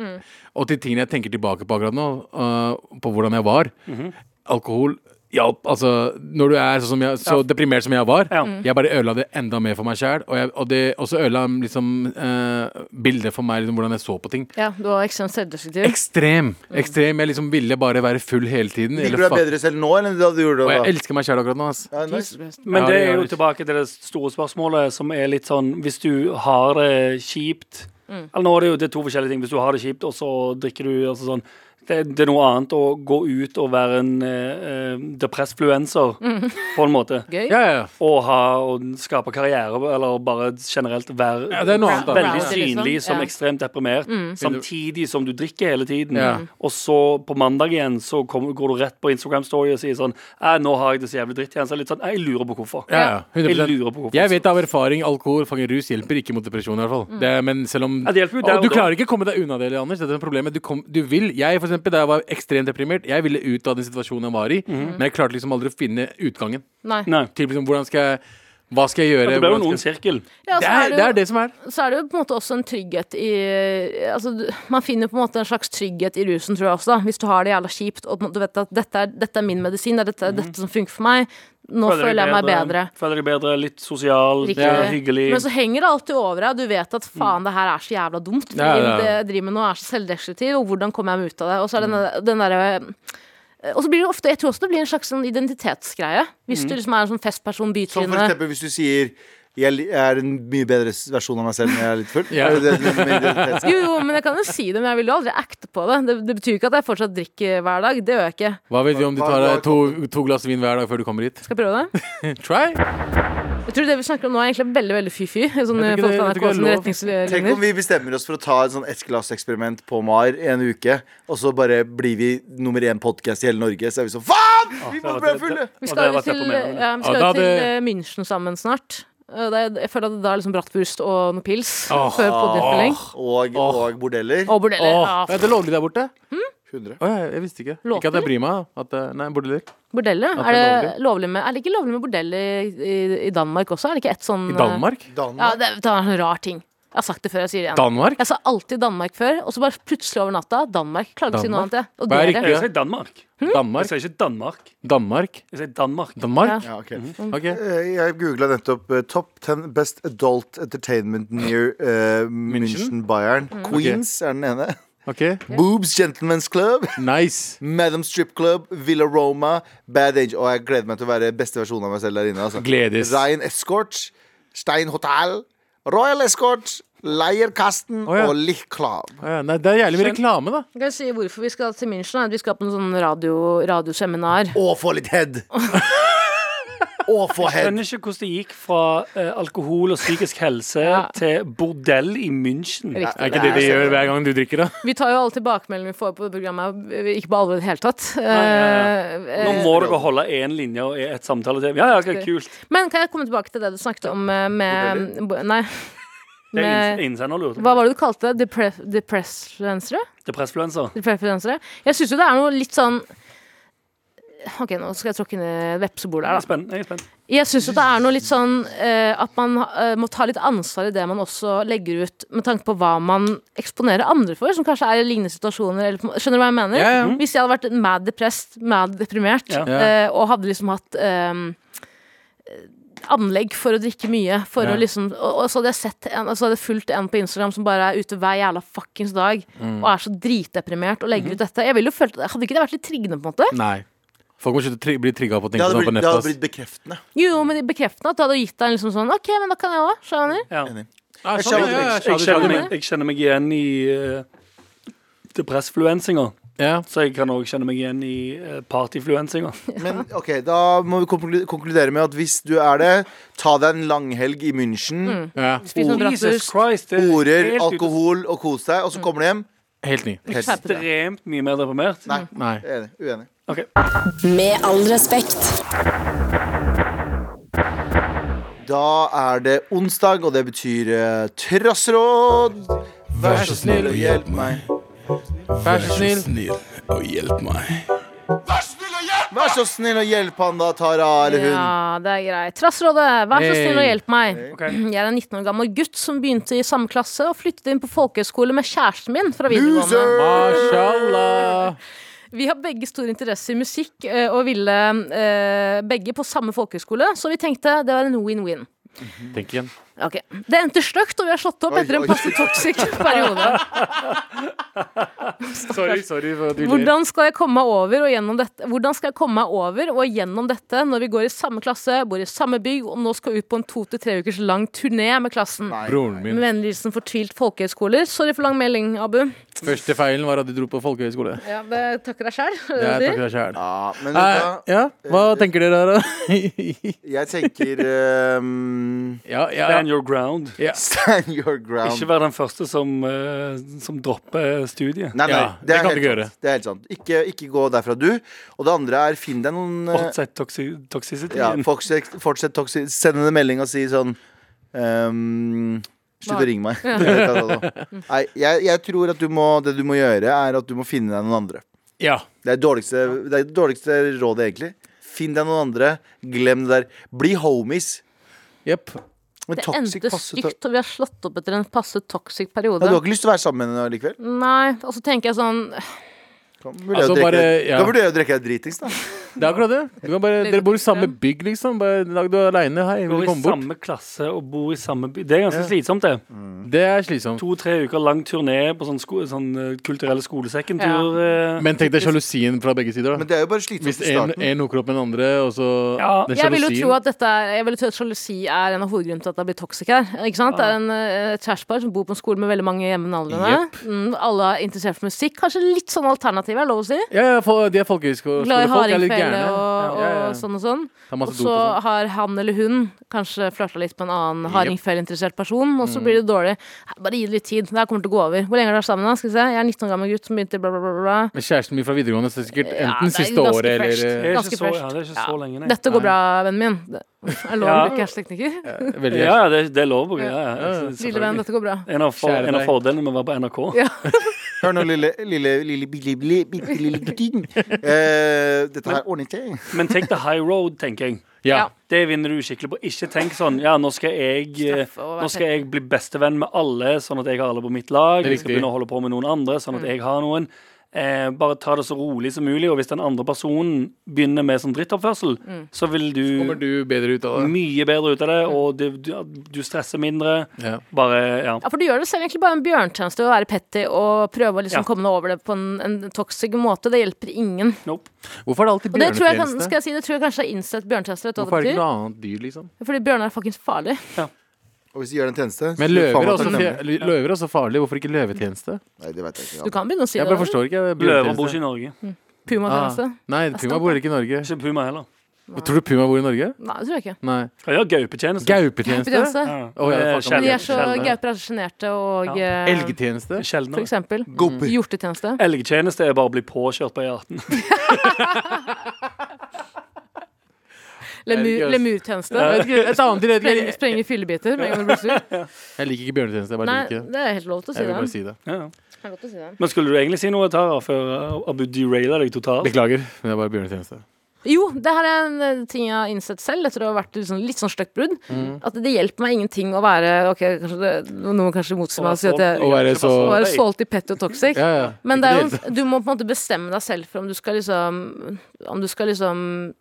Og til tingene jeg tenker tilbake på akkurat nå, eh, på hvordan jeg var Mhm. Alkohol hjalp. Altså, når du er sånn som jeg, så deprimert som jeg var, Ja. Mm. jeg bare ødela det enda mer for meg sjæl. Og, jeg- og det også ødela liksom, eh, bildet for meg, liksom, hvordan jeg så på ting. Ja, du var ekstremt selvdestruktiv. Ekstrem. Ekstrem. Jeg liksom ville bare være full hele tiden. Liker eller du deg fuck- bedre selv nå enn da du gjorde og det da? jeg elsker meg sjæl akkurat nå. Ass. Ja, nice. Men det Ja, det er gjør jo det. tilbake til det store spørsmålet, som er litt sånn Hvis du har det kjipt Eller nå er det jo det er to forskjellige ting. Hvis du har det kjipt, og så drikker du altså sånn det, det er noe annet å gå ut og være en eh, eh, depressfluencer, på en måte. Gøy. Ja, ja, ja. Og, ha, og skape karriere, eller bare generelt være ja. Det er noe annet, da. veldig Browser, liksom. synlig som Ja. Mm. ekstremt deprimert, samtidig som du drikker hele tiden. Ja. Og så på mandag igjen så kommer- går du rett på Instagram Story og sier sånn «Eh, 'Nå har jeg det så jævlig dritt igjen.' Så er det litt sånn «Eh, Jeg lurer på hvorfor. Ja, ja, Jeg 100%. lurer på hvorfor. Jeg vet av erfaring alkohol fanger rus hjelper ikke mot depresjon. i hvert fall det, Men selv om Ja, det hjelper jo der Og og Du da. klarer ikke å komme deg unna det, Anders. Dette er problemet. Du, kom, du vil Jeg for eksempel, Da jeg var ekstremt deprimert, jeg ville ut av den situasjonen jeg var i. Mhm. Men jeg klarte liksom aldri å finne utgangen. Nei. Nei. Til liksom, hvordan skal jeg Hva skal jeg gjøre? Det ble jo Hvordan noen skal, sirkel. Ja, det, så er, er det er det, det som er. jo, så er det jo på en måte også en trygghet i Altså, du, man finner jo på en måte en slags trygghet i rusen, tror jeg også, da. Hvis du har det jævla kjipt, og på en måte du vet at dette er, dette er min medisin, det er dette, dette som funker for meg. Nå føler jeg meg bedre. Føler deg bedre, litt sosial, Riktig. ja. hyggelig. Men så henger det alltid over deg. Du vet at faen, det her er så jævla dumt. Ja, ja, ja. Det jeg driver med nå, er så selvdestruktiv, og hvordan kommer jeg meg ut av det? Og så er det den, den derre eh, og så blir det ofte, Jeg tror også det blir en slags sånn identitetsgreie. Hvis du liksom er en sånn festperson, Mhm. Som for bytryne. eksempel hvis du sier jeg li- er en mye bedre s- versjon av meg selv når jeg er litt full. Ja. Er det det du mener med identitet? Jo, jo, men jeg kan jo si det, men jeg vil jo aldri acte på det. det. Det betyr jo ikke at jeg fortsatt drikker hver dag. Det gjør jeg ikke. Hva vet vi om du Hva- tar hva- deg to, to glass vin hver dag før du kommer hit? Skal jeg prøve det? Try! Jeg tror det vi snakker om nå, er egentlig veldig veldig fy-fy. Sånn Jeg tror ikke folk det- fra jeg tror ikke NRK det er sine lov. Tenk om retningslinjer. vi bestemmer oss for å ta et sånn ettglasseksperiment på Mar i en uke, og så bare blir vi nummer én podkast i hele Norge, så er vi sånn Faen! Vi må bli fulle! Vi skal jo til, ja. ja, vi skal Ja, jo da til eh, hadde- München sammen snart. Og det, jeg føler at det da er liksom Brattburst og noe pils Åh. før podiinnspilling. Og, og bordeller. Og bordeller. Åh, Ja, Hm? er det lovlig der borte? 100. Å, jeg, jeg visste ikke. Låter? Ikke at jeg bryr meg. At, eh, nei, bordeller. bordeller? At Er det det, er lovlig med, er det ikke lovlig med bordeller i, i Danmark også? Er det ikke et sånn I Danmark? Ja, Danmark. det, det er en sånn rar ting. Jeg har sagt det før, jeg sier det igjen. Danmark? Jeg sa alltid Danmark før, og så bare plutselig over natta Danmark. Klarer ikke å si noe Danmark? annet, jeg. Og Hva er dere. Jeg sier Danmark. Hm? Jeg Danmark? sier ikke Danmark. Danmark? Jeg sier Danmark. Danmark? Ja, ok. Ok. Eh, Jeg googla nettopp eh, Top 10 Best Adult Entertainment Near eh, München, Bayern. Queens er den ene. ok. Boobs Gentlemen's Club. Nice. Madam Strip Club, Villa Roma, Bad Angel Og jeg gleder meg til å være beste versjon av meg selv der inne. Altså. Gledes. Ryan Escort, Stein Hotel, Royal Escort, Leierkasten Å, ja. og Lich Club. Å Ja, nei, det er jævlig mye reklame, da. Kan jeg si hvorfor vi skal til München? er at Vi skal på en sånn radio, radioseminar. Og få litt head! og få Jeg head! skjønner ikke hvordan det gikk fra eh, alkohol og psykisk helse Ja. til bordell i München. Riktig. Er ikke det de gjør hver gang du drikker, da? Vi tar jo alle tilbakemeldinger vi får på programmet, eh, ikke på alvor i det hele tatt. nei, Eh, Nå må dere holde én linje og ett samtale til. Ja, ja, ok, kult. Men kan jeg komme tilbake til det du snakket om eh, med Bo- eh, Nei. Det er med inn- innsender lurte Hva på. var det du kalte det? Depre depressfluensere? Depressfluencer. Depressfluensere? Jeg syns jo det er noe litt sånn Ok, nå skal jeg tråkke ned vepsebol Jeg her, er da. spent. Jeg er spent. Jeg syns jo det er noe litt sånn eh, at man eh, må ta litt ansvar i det man også legger ut, med tanke på hva man eksponerer andre for, som kanskje er i lignende situasjoner. Eller, på en må- skjønner du hva jeg mener? Ja, ja. Hvis jeg hadde vært mad depressed, mad deprimert, Ja. Ja. eh, og hadde liksom hatt ehm, eh, anlegg for å drikke mye, for Ja. å liksom og, og så hadde jeg sett en, og så hadde jeg fulgt en på Instagram som bare er ute hver jævla fuckings dag Mm. og er så dritdeprimert og legger ut dette. Jeg ville jo følt, Hadde ikke det vært litt triggende, på en måte? Nei. Folk må slutte å tri bli trigga på å Det tenke hadde sånn på blitt, det nettet. hadde ass. blitt bekreftende. Jo, jo, men de bekreftende at du hadde gitt deg en liksom sånn OK, men da kan jeg òg. Skjønner du? Ja. Enig. Ja, Jeg sånn, skjønner- ja, ja, Jeg kjenner skjønner- skjønner. meg, jeg kjenner meg igjen i uh, depressfluensinga. Ja. Så jeg kan òg kjenne meg igjen i uh, partyfluensinga. Men ok, da må vi konklu- konkludere med at hvis du er det, ta deg en langhelg i München. Ja. Spis noe Oh, Jesus bratwurst. Christ. Det er Horer, helt ut- alkohol og kos deg, og så kommer du hjem. Helt ny. Helt Skjerpe deg. Ekstremt mye mer deprimert. Nei, Nei. enig. Uenig. Ok. Med all respekt. Da er det onsdag, og det betyr eh, trassråd. Vær så snill og hjelp meg. Vær så snill. og hjelp meg. Vær så snill og hjelp han da, Tara eller hun. Ja, det er greit. Trassrådet, vær så snill og Hey. hjelp meg. Ok. Jeg er en 19 år gammel gutt som begynte i samme klasse og flyttet inn på folkehøyskole med kjæresten min fra videregående. Mashallah. Vi har begge stor interesse i musikk eh, og ville eh, begge på samme folkehøyskole, så vi tenkte det var en win-win. Tenk igjen. Ok, Det endte stygt, og vi har slått opp Oi, etter en oi. passe toxic periode. Sorry, sorry for at du ler. Hvordan skal jeg komme meg over og gjennom dette Hvordan skal jeg komme meg over og gjennom dette når vi går i samme klasse, bor i samme bygg og nå skal ut på en to til tre ukers lang turné med klassen? Nei. Broren min. Med vennlig hilsen fortvilt folkehøyskoler. Sorry for lang melding, Abu. Første feilen var at du dro på folkehøyskole. Ja, det takker deg sjæl. Jeg takker deg sjæl. Ja, men Eh, vet du hva? Ja, hva tenker dere her, da? jeg tenker ehm, ja, ja. Stand your ground. ja. Stand your ground. Ikke vær den første som, eh, som dropper studiet. Nei, nei, Ja, det, det er kan helt du ikke gjøre. sant. det er helt sant. Ikke, ikke gå derfra, du. Og det andre er finn deg noen eh, Fortsett toksi ja, toxicityen. Fortsett, fortsett toksi- Send henne en melding og si sånn ehm, Slutt å Hva? ringe meg. altså. Nei, jeg, jeg tror at du må, det du må gjøre, er at du må finne deg noen andre. ja. Det er det dårligste, det er det dårligste rådet, egentlig. Finn deg noen andre. Glem det der. Bli homies. Jepp. Men Det toxic endte passer til- stygt, og vi har slått opp etter en passe toxic periode. Nei, Du har ikke lyst til å være sammen med henne likevel? Nei, og så tenker jeg sånn Kan vurdere Altså, å drikke bare- deg- ja. kan vurdere å drikke deg dritings, da. Det er akkurat det. Du kan bare, dere bor i samme bygg, liksom. Bare en dag du er aleine, hei, Går vil du i komme bort? samme klasse og bor i samme by. Det er ganske slitsomt, det. Det er slitsomt. To-tre uker lang turné på sånn, sko sånn eh, kulturelle skolesekkentur. eh. Men tenk deg sjalusien fra begge sider, Men da. det er jo bare slitsomt i Hvis en, starten. en hooker opp med den andre, og så Ja, den Jeg vil jo sjalusien. tro at dette er Jeg vil jo tro at sjalusi er en av hovedgrunnene til at det blir toxic her. Ikke sant? Det er en eh, et kjærestepar som bor på en skole med veldig mange jevnaldrende. Mm, alle er interessert i musikk. Kanskje litt sånn alternativ, er det lov å si? Ja, ja, fol- de er Glad i folkehøyskolefolk. Er litt hardingfele gærne. og, Ja, ja, ja. og sånn og sånn. Tar Og masse dop så og sånn. har han eller hun kanskje flørta litt med en annen Jep. Mm. hardingfellinteressert person, og så blir det dårlig. Bare gi det litt tid. Det her kommer til å gå over. Hvor lenge har dere vært sammen? da? Skal vi se. Jeg er 19 år gammel gutt som begynte bla, bla, bla. bla. Men kjæresten min fra videregående så er sikkert Ja, enten det er siste ganske året fresh. eller det er ganske ikke så, fresh. ja, det er ikke så lenge, nei. Dette går bra, vennen min. Det er lov å Ja. bruke hashtag-teknikker. eh, veldig Ja, ja, det, det er lov å gjøre. Ja, ja. Ja, ja. Lille venn, selvfølgelig. dette går bra. En av, for, Kjære en av deg. fordelene med å være på NRK. Ja. Hør nå, lille, lille, lille, lille, lille, bitte lille gutting. Eh, dette her ordner ikke Men take the high road, tenker jeg. Ja. Det vinner du skikkelig på. Ikke tenk sånn Ja, nå skal jeg eh, Straffe og være Nå skal jeg bli bestevenn med alle, sånn at jeg har alle på mitt lag. Jeg skal Riktig. begynne å holde på med noen andre, sånn Mm. at jeg har noen. Eh, bare ta det så rolig som mulig, og hvis den andre personen begynner med sånn drittoppførsel, Mm. så vil du, Kommer du bedre ut av det? mye bedre ut av det, og du, du, du stresser mindre. Ja. Bare Ja. Ja, for du gjør det selv egentlig bare en bjørntjeneste å være petty og prøve å Ja. liksom komme deg over det på en, en toxic måte. Det hjelper ingen. Nope. Hvorfor er det alltid Og det tror jeg, kan, skal bjørnetjeneste? jeg si, det tror jeg kanskje er innsett bjørntjeneste. Vet du Hvorfor hva er det ikke det betyr? noe annet dyr, liksom? Fordi bjørner er faktisk farlig. Og hvis de gjør en tjeneste så Men blir det løver faen er meg også, takknemlig. fje- løver er også farlig. Hvorfor ikke løvetjeneste? Nei, det vet jeg ikke. Du kan begynne å si Jeg det. bare forstår ikke. Løver bor bjørnetjeneste. ikke i Norge. Mm. Pumatjeneste. Ah, nei, puma bor ikke i Norge. Ikke puma heller. Tror du puma bor i Norge? Nei, det tror jeg ikke. Nei. Kan gjøre gaupetjeneste. Gaupetjeneste? Pumatjeneste. Ja. Å, ja, Eh, fuck, han De Ja. er så sjeldnere. gauper er så sjenerte og Ja. eh, Elgetjeneste? For Sjeldnere. eksempel. Gobber. Hjortetjeneste. Elgtjeneste er bare å bli påkjørt på E18. Lemur- Religiøst. Lemurtjeneste. Jeg vet ikke, Et annet til Spreng, det. sprenge fyllebiter med en gang du blir sur. Jeg liker ikke bjørnetjeneste. Jeg bare Nei, liker det. det er helt lov til å si Jeg vil det. bare si det. Ja, ja. Det er godt å si det. Men skulle du egentlig si noe, Tara, før eh, Abu derailer deg totalt? Beklager, men det er bare bjørnetjeneste. Jo, det her er en eh, ting jeg har innsett selv etter å ha vært litt sånn, litt sånn stygt brudd. Mm. At det hjelper meg ingenting å være Ok, kanskje det, noen må kanskje motsier meg og si at jeg Å være så å være salty, petty og toxic. ja, ja. Men Ikke det er det hele tatt. jo, du må på en måte bestemme deg selv for om du skal liksom Om du skal liksom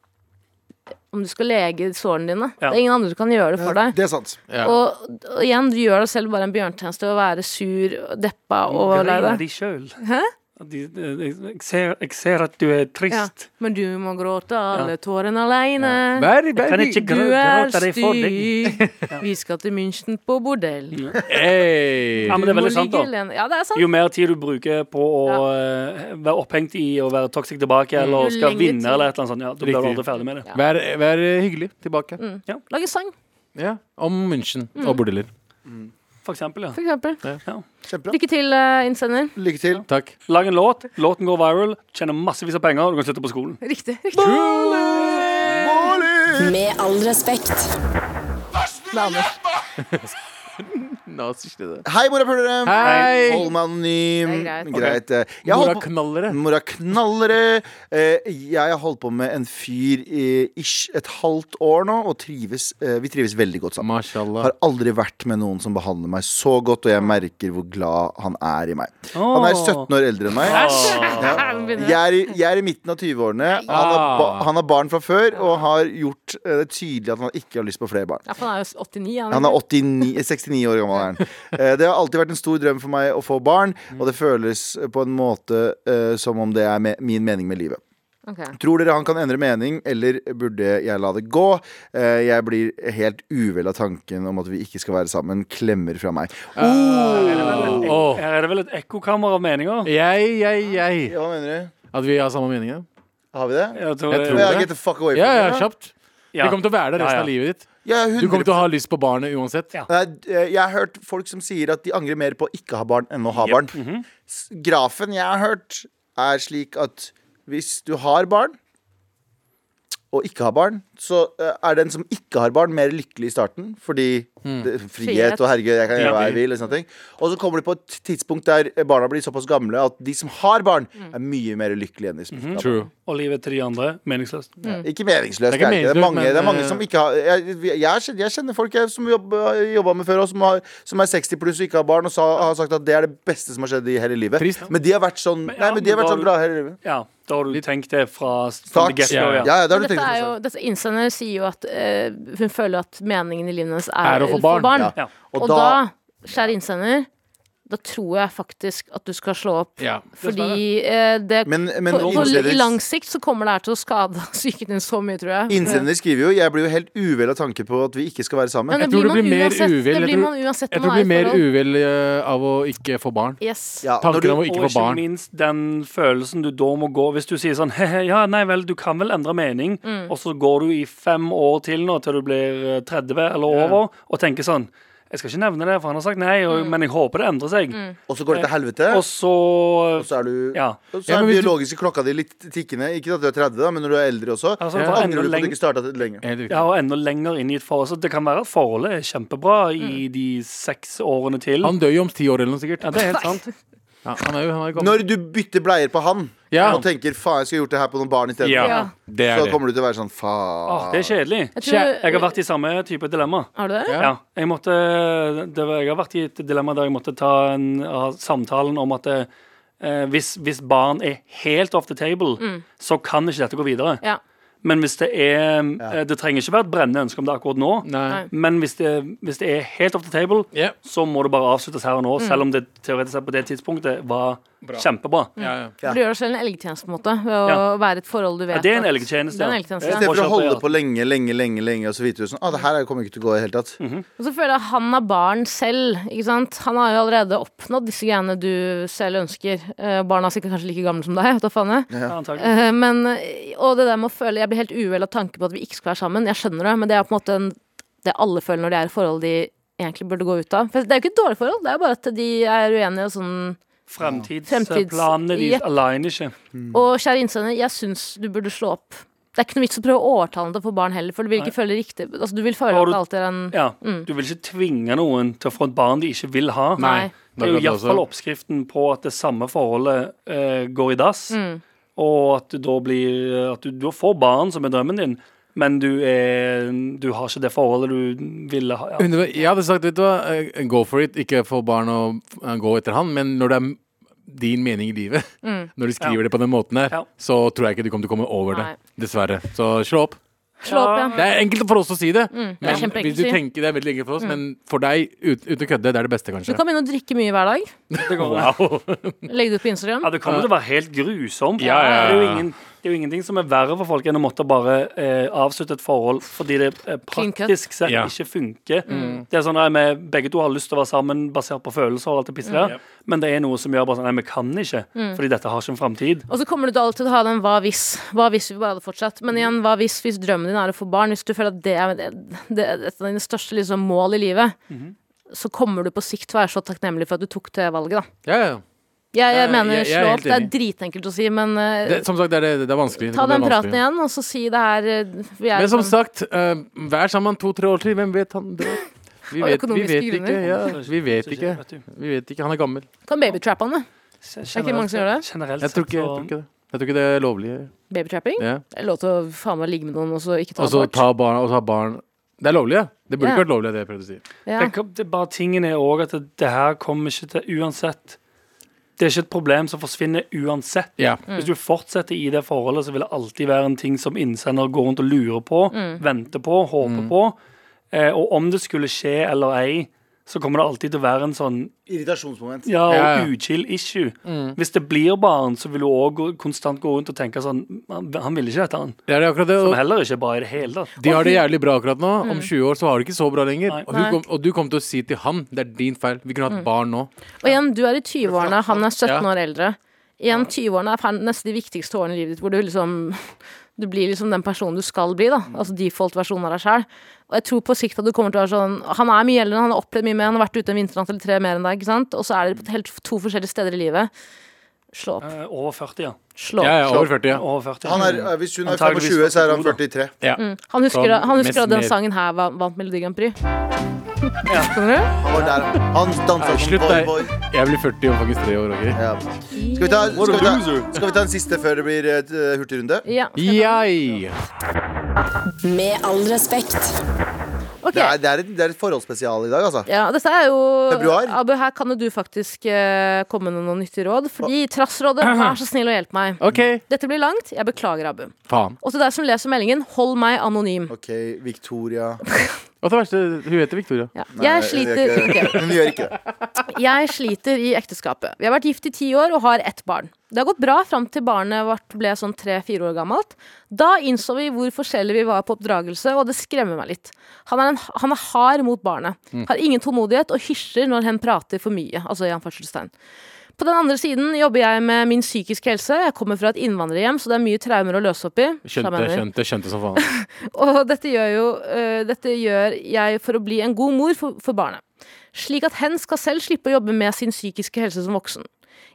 Om du skal lege sårene dine. Ja. Det er ingen andre som kan gjøre det for deg. Det er sant. Ja. Og, og igjen, du gjør deg selv bare en bjørntjeneste ved å være sur, deppa og lei Greiner deg. de selv. At De, de, de, jeg, ser, jeg ser at du er Ja. trist. Men du må gråte alle tårene aleine. Vær, Jeg vær, kan ikke Du grå- er gråte deg for deg. stygg. Vi skal til München på bordell. hey. Ja, men det er Du må veldig sant, ligge da. alene. Ja, det er sant. Jo mer tid du bruker på å eh, være opphengt i å være toxic tilbake, eller Jo skal lengre vinne, tid. eller et eller annet sånt, ja, da blir du Riktig. aldri ferdig med det. Vær, vær hyggelig tilbake. Lage sang, Ja. Om München Mm. og bordeller. For eksempel, ja. for eksempel. Kjempebra. Lykke til, eh, innsender. Lykke til. Takk. Lag en låt, låten går viral, tjener massevis av penger, og du kan slutte på skolen. Riktig. riktig. Med all respekt. Nazistene. Hei, morapulere. Hei. Hold meg anonym. Det er greit. eh, Jeg har holdt på Moraknallere. Mora knallere. Eh, Jeg har holdt på med en fyr i ish et halvt år nå, og trives, eh, vi trives veldig godt sammen. Mashallah. Har aldri vært med noen som behandler meg så godt, og jeg merker hvor glad han er i meg. Han er 17 år eldre enn meg. Ja. Nå begynner Jeg er, i, jeg er i midten av 20-årene. Han, har ba- han har barn fra før og har gjort eh, det tydelig at han ikke har lyst på flere barn. Ja, for han er jo 89. Han, Han er 89, eh, 69 år gammel. Er han. Eh, Det har alltid vært en stor drøm for meg å få barn, og det føles på en måte eh, som om det er me min mening med livet. Ok. Tror dere han kan endre mening, eller burde jeg la det gå? Eh, Jeg blir helt uvel av tanken om at vi ikke skal være sammen. Klemmer fra meg. Åh. Her er det vel et ekkokammer av meninger. Jeg, jeg, jeg. Ja, hva mener du? At vi har samme meninger? Har vi det? Jeg tror, Jeg tror- Ja, det. get the fuck away from Ja, ja, me, da. kjapt. Vi kommer til å være der resten Ja, ja. av livet ditt. Ja, Du 100 kommer til å ha lyst på barnet uansett. Ja. Nei, d- eh, jeg har hørt folk som sier at de angrer mer på å ikke ha barn enn å ha barn. S- Grafen jeg har hørt, er slik at hvis du har barn og ikke har barn, så eh, er den som ikke har barn, mer lykkelig i starten. Fordi det, frihet Frihet. og herregud, jeg kan gjøre hva jeg Frihet. vil. Og, sånne ting. og så kommer de på et tidspunkt der barna blir såpass gamle at de som har barn, er mye mer lykkelige enn de som ikke har barn. True. Og livet til de andre, meningsløst. Mm. Ikke meningsløst. Det er Det ikke er, ikke det. det meningsløst, er, mange, men, det er mange eh, som ikke har Jeg, jeg, jeg kjenner- jeg kjenner folk jeg, som eh, jobba med før, og som, har, som er 60 pluss og ikke har barn, og sa, har sagt at det er det beste som har skjedd i hele livet. Trist. Men de har vært sånn Men ja, Nei, men de har men vært da har sånn glad hele livet. Ja, da har du tenkt det fra Start. from the get-go, Ja, ja. ja, ja, det har Men du tenkt dette, er jo, på. dette innsender sier jo at eh, hun føler at meningen i livet hennes er, Er å få barn. Ja. Ja. Og, Og da, da kjære innsender, da tror jeg faktisk at du skal slå opp. Ja. Fordi eh, det Men, men på, på, innsender- I lang sikt så kommer det her til å skade psyken din så mye, tror jeg. innsender skriver jo Jeg blir jo helt uvel av tanke på at vi ikke skal være sammen. Jeg Men det tror blir det man blir mer uansett. uvel. Jeg Det blir tror- man uansett Jeg når tror du man blir mer er i forhold. uvel eh, av å ikke få barn. Yes. Ja, når Tanken du, om å Og ikke få ikke barn. minst den følelsen du da må gå Hvis du sier sånn «Hehe, Ja, nei vel, du kan vel endre mening Og så går du i fem år til nå Til du blir eh, 30 eller over Og tenker sånn Jeg skal ikke nevne det, for han har sagt nei og, Men jeg håper det endrer seg og så går det til helvete, Og så og så er du Ja og Så Ja, er men den hvis du- biologiske klokka di litt tikkende. Ikke at du er 30, da, men når du er eldre også. Altså, så for enda angrer du på at leng- du ikke starta lenge. Helt riktig. ja, og enda lenger inn i et forhold Så det kan være at forholdet er kjempebra I de seks årene til Han dør jo om ti år eller noe sikkert. Ja, det er helt sant Ja, han er jo, han er gammel. Når du bytter bleier på han Ja. og tenker 'faen, jeg skulle gjort det her på noen barn isteden', Ja, Ja. det er så det. kommer du til å være sånn 'faen'. Åh, Det er kjedelig Jeg tror, Jeg har vært i samme type dilemma Har du det? Ja. Ja, jeg, måtte, det var, jeg har vært i et dilemma der jeg måtte ta en, ha samtalen om at eh, hvis, hvis barn er helt off the table, så kan ikke dette gå videre. Mm. Ja. Men hvis det er eh, Det trenger ikke være et brennende ønske om det akkurat nå, Nei. men hvis det, hvis det er helt off the table, Ja. så må det bare avsluttes her og Mm. nå, selv om det teoretisk sett på det tidspunktet var kjempebra. Mm. Ja, ja. Ja. Du gjør deg selv en elgtjeneste, på en måte. Ved å Ja. være i et forhold du vet Ja, det er en at- elgtjeneste, Det er en ja. elgtjeneste, Ja, ja. Istedenfor å Må kjøpe, holde ja. på lenge, lenge, lenge, lenge og så vite du sånn, ah, det her kommer ikke til å gå i det hele tatt. Mhm. Og så føler jeg at han har barn selv. Ikke sant? Han har jo allerede oppnådd disse greiene du selv ønsker. Eh, barna er sikkert kanskje like gamle som deg. vet du hva faen jeg. Ja, antagelig. Eh, men, eh, og det der med å føle Jeg blir helt uvel av tanken på at vi ikke skal være sammen. Jeg skjønner det, men det er på en måte en, det alle føler når de er i forhold de egentlig burde gå ut av. For det er jo ikke et dårlig forhold, det er bare at de er uenige og sånn. Fremtids- Fremtids- Fremtidsplanene de Jepp. aligner ikke. Og kjære innsender, jeg syns du burde slå opp. Det er ikke noe vits å prøve å overtale dem til å få barn heller, for du vil ikke føle riktig Altså, du vil føle Har at du- det alltid er en Ja, Du vil ikke tvinge noen til å få et barn de ikke vil ha. Mm. Nei. Det er jo akkurat det iallfall også. oppskriften på at det samme forholdet eh, går i dass, og at du da blir At du, du får barn, som er drømmen din, men du, er, du har ikke det forholdet du ville ha. Ja. Hundre- Jeg hadde sagt, vet du hva, eh, go for it, ikke få barn og eh, gå etter han, men når det er m- din mening i livet, Mm. når du skriver det på den måten her, Ja. så tror jeg ikke du kommer til å komme over det. Nei. Dessverre. Så slå opp. Slå opp, ja. Det er enkelt for oss å si det, Mm. det er men kjempeenkelt hvis du å si. Mm. tenker det er veldig enkelt for oss, men for deg, ut- uten å kødde, det er det beste, Du kanskje. kan begynne å drikke mye hver dag. Det går, Legge det ut på Instagram. ja, det kommer til å være helt grusomt. Ja, ja, ja. Det, er jo ingen, det er jo ingenting som er verre for folk enn å måtte bare eh, avslutte et forhold fordi det eh, Clean cut. praktisk sett Ja. ikke funker. Det er sånn at vi begge to har lyst til å være sammen basert på følelser, og alt det pisset der, men det er noe som gjør bare sånn Nei, vi kan ikke, fordi dette har ikke en framtid. Og så kommer du til alltid til å ha den 'hva hvis'? Hva hvis vi bare hadde fortsatt? Men igjen, hva hvis, hvis drømmen din er å få barn? Hvis du føler at det er det, det, er et av dine største liksom, mål i livet, Mhm. så kommer du på sikt til å være så takknemlig for at du tok det valget, da. Ja, ja. Jeg, jeg Ja, mener jeg- jeg er slå helt opp. Det er enig. dritenkelt å si, men eh, Det, som sagt, det er, det, det er vanskelig. Det ta kan den være praten vanskelig. igjen, og så si det er eh, vi er Men som liksom- sagt, eh, vær sammen to-tre år til. Hvem vet han dør? Vi Av vet, vi økonomiske vet grunner. ikke. Ja, vi vet Så ikke. vet du. Vi vet ikke. Han er gammel. Kan babytrappe han, det. Det ikke mange som gjør det. Generelt Jeg tror ikke, jeg tror ikke det. Jeg tror ikke det er lovlig. Babytrapping? Ja. Det er lov til å faen meg ligge med noen og så ikke ta Og så abort. ta barn, og så ha barn. Det er lovlig, ja. Det burde Ja. ikke vært lovlig, det jeg prøvde å si. Ja. det, kan- det, er bare tingen er òg at det, det her kommer ikke til uansett. Det er ikke et problem som forsvinner uansett. Ja. Mm. Hvis du fortsetter i det forholdet, så vil det alltid være en ting som innsender går rundt og lurer på, Mm. venter på, Mm. håper på. Eh, og om det skulle skje eller ei, så kommer det alltid til å være en sånn Irritasjonsmoment. ja, og Ja, ja. uchill issue. Mm. Hvis det blir barn, så vil du òg konstant gå rundt og tenke sånn Han, han vil ikke dette, han. Det er det akkurat det. Som Og heller ikke er bra i det hele tatt. de har det jævlig bra akkurat nå. Om 20 år så har de ikke så bra lenger. Nei. Og, hun Mm. Nei. Mm. kom, og du kommer til å si til han det er din feil. Vi kunne hatt barn nå. Og igjen, du er i 20-årene, han er 17 Ja. år eldre. Igjen, 20-årene er fan- nesten de viktigste årene i livet ditt, hvor du liksom Du blir liksom den personen du skal bli, da. Altså default-versjonen av deg sjøl. Og jeg tror på sikt at du kommer til å være sånn Han er mye eldre, han har opplevd mye mer, han har vært ute en vinternatt eller tre mer enn deg, ikke sant. Og så er dere på helt to forskjellige steder i livet. Slå opp. Eh, over 40, ja. Slå Ja, opp. ja, over 40, ja. Over 40. Han er, eh, hvis hun er Antageligvis 25, så er han 42 43. ja. Han husker, Sånn, han husker mest at den mer. sangen her va- vant Melodi Grand Prix. Ja. Skjønner du? Han var der. Han dansa som Slutt boy, deg. boy. Jeg blir 40 om faktisk tre år. ok? Ja. Skal, vi ta, skal, vi ta, skal vi ta en siste før det blir et eh, hurtigrunde? Ja. Jeg. Med all respekt. Ok. Det, er, det, er et, det er et forholdsspesial i dag, altså. Ja, dette er jo Februar. Abu, her kan jo du faktisk eh, komme med noen nyttige råd. Fordi Trassrådet, vær så snill å hjelpe meg. OK. Dette blir langt. Jeg beklager, Abu. Faen. Og til deg som leser meldingen, hold meg anonym. OK, Victoria Og det verste, hun heter Victoria. Ja. Nei, Jeg hun gjør sliter ikke det. ikke. Hun gjør ikke det. Jeg sliter i ekteskapet. Vi har vært gift i ti år og har ett barn. Det har gått bra fram til barnet vårt ble sånn tre-fire år gammelt. Da innså vi hvor forskjellige vi var på oppdragelse, og det skremmer meg litt. Han er, en, han er hard mot barnet, har ingen tålmodighet og hysjer når hen prater for mye. Altså i anførselstegn. På den andre siden jobber jeg med min psykiske helse. Jeg kommer fra et innvandrerhjem, så det er mye traumer å løse opp i. Skjønte, Skjønner. skjønte, skjønte som faen. Og dette gjør jo øh, Dette gjør jeg for å bli en god mor for, for barnet. Slik at hen skal selv slippe å jobbe med sin psykiske helse som voksen.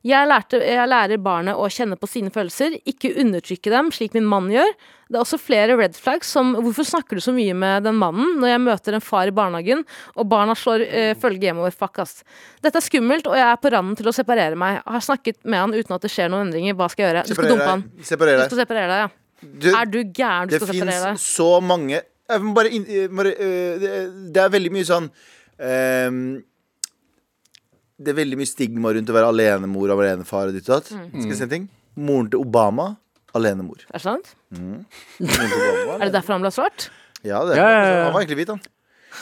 Jeg, lærte, jeg lærer barnet å kjenne på sine følelser, ikke undertrykke dem slik min mann gjør. Det er også flere red flags som Hvorfor snakker du så mye med den mannen når jeg møter en far i barnehagen og barna slår øh, følge hjemover? Fuck, ass. Dette er skummelt, og jeg er på randen til å separere meg. Jeg har snakket med han uten at det skjer noen endringer. Hva skal jeg gjøre? Du skal Separer dumpe han. deg. Separer Du deg. skal separere deg, ja. Du, Er du gæren? Du det skal separere deg. fins så mange jeg må bare, inn- eh, bare eh, det, det er veldig mye sånn ehm, Det er veldig mye stigma rundt å være alenemor og alenefar. Og ditt og datt. Mm. Skal jeg si en ting? Moren til Obama alenemor. Er det sant? Moren til Obama, var Er det derfor han ble svart? Ja, det, Ja, ja, ja. han var egentlig hvit, han.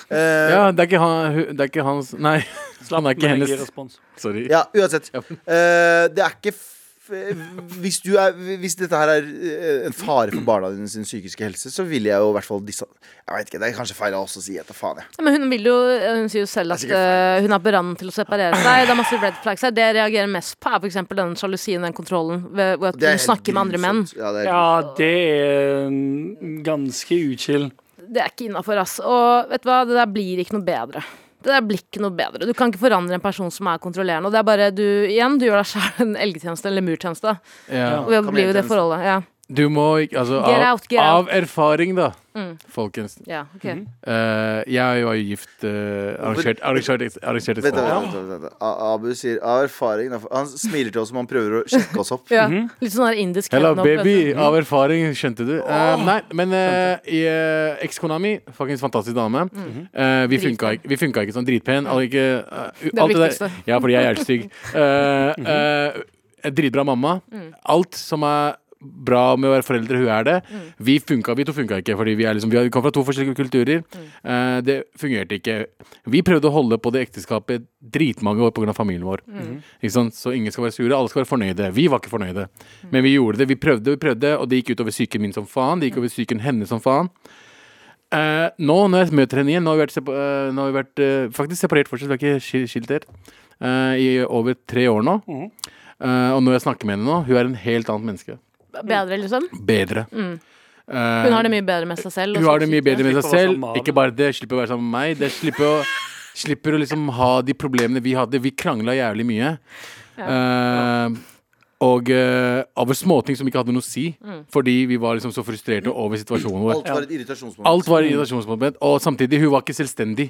Eh, ja. Ja, det er ikke, han, hun- det er ikke hans Nei, han Men er ikke jeg gir hennes. respons. Sorry. uansett. Eh, det er ikke f hvis, du er, hvis dette her er eh, en fare for barna dine sin psykiske helse, så ville jeg jo i hvert fall dissa Jeg vet ikke, Det er kanskje feil av oss å si etter faen, jeg. Ja, Men hun, vil jo, eh, hun sier jo selv at Det er sikkert eh, hun er på randen til å separere seg. Det er masse red flags her. Det jeg reagerer mest på, er f.eks. den sjalusien, den kontrollen, ved, hvor at Det er hun snakker med andre menn. grusomt. Ja, det er Ja, det er mm, ganske uchill. Det er ikke innafor, ass. Og vet du hva, det der blir ikke noe bedre. Det der blir ikke noe bedre. Du kan ikke forandre en person som er kontrollerende. Og det er bare du, igjen, du gjør deg sjæl en elgtjeneste eller murtjeneste. Ja. Og ved å bli i det Kameleontjeneste. forholdet. Ja. Du må ikke Altså, Get av, out, get out. Mm. av erfaring, da, folkens. Ja, ok. Mhm. Eh, jeg var jo gift eh, arrangert, arrangert, arrangert Vent, da, ja. vent, da, vent, da, vent, da. A- Abu sier av erfaring da, for- Han smiler til oss som han prøver å sjekke oss opp. Ja. Litt sånn der indisk Hello, head knock, vet baby. du. Av erfaring, skjønte du. Eh, nei, men eh, i, eh, ekskona mi, fuckings fantastisk Mm. dame, eh, vi, funka ikke, vi funka ikke sånn dritpen. Alle ikke, eh, er alt det viktigste. der, ja, fordi jeg er stygg. Eh, eh, dritbra mamma. Alt som er bra med å være foreldre, hun er det. Vi funka, vi to funka ikke, fordi vi, er liksom, vi har- vi kommer fra to forskjellige kulturer. Eh, det fungerte ikke. Vi prøvde å holde på det ekteskapet dritmange år pga. familien vår. Ikke sant? Så ingen skal være sure, alle skal være fornøyde. Vi var ikke fornøyde. Men vi gjorde det. Vi prøvde og vi prøvde, og det gikk utover psyken min som faen. Det gikk over psyken hennes som faen. Eh, nå når jeg møter henne igjen Nå har vi vært, sepa eh, nå har vi vært eh, faktisk separert fortsatt, vi har ikke skil- skilt her. eh, I over tre år nå. Mhm. Eh, og når jeg snakker med henne nå, hun er en helt annet menneske. Bedre, liksom. Bedre. Eh, Hun sånn har det mye bedre med seg selv. og hun så har det mye bedre med Slipper å seg være selv. sammen med han. Ikke bare det, slipper å være sammen med meg. Det slipper å, slipper å liksom ha de problemene vi hadde. Vi krangla jævlig mye. Eh, og eh, over småting som ikke hadde noe å si. Fordi vi var liksom så frustrerte over situasjonen vår. Alt var et irritasjonsmoment. Alt var Mm. irritasjonsmoment, og samtidig, hun var ikke selvstendig.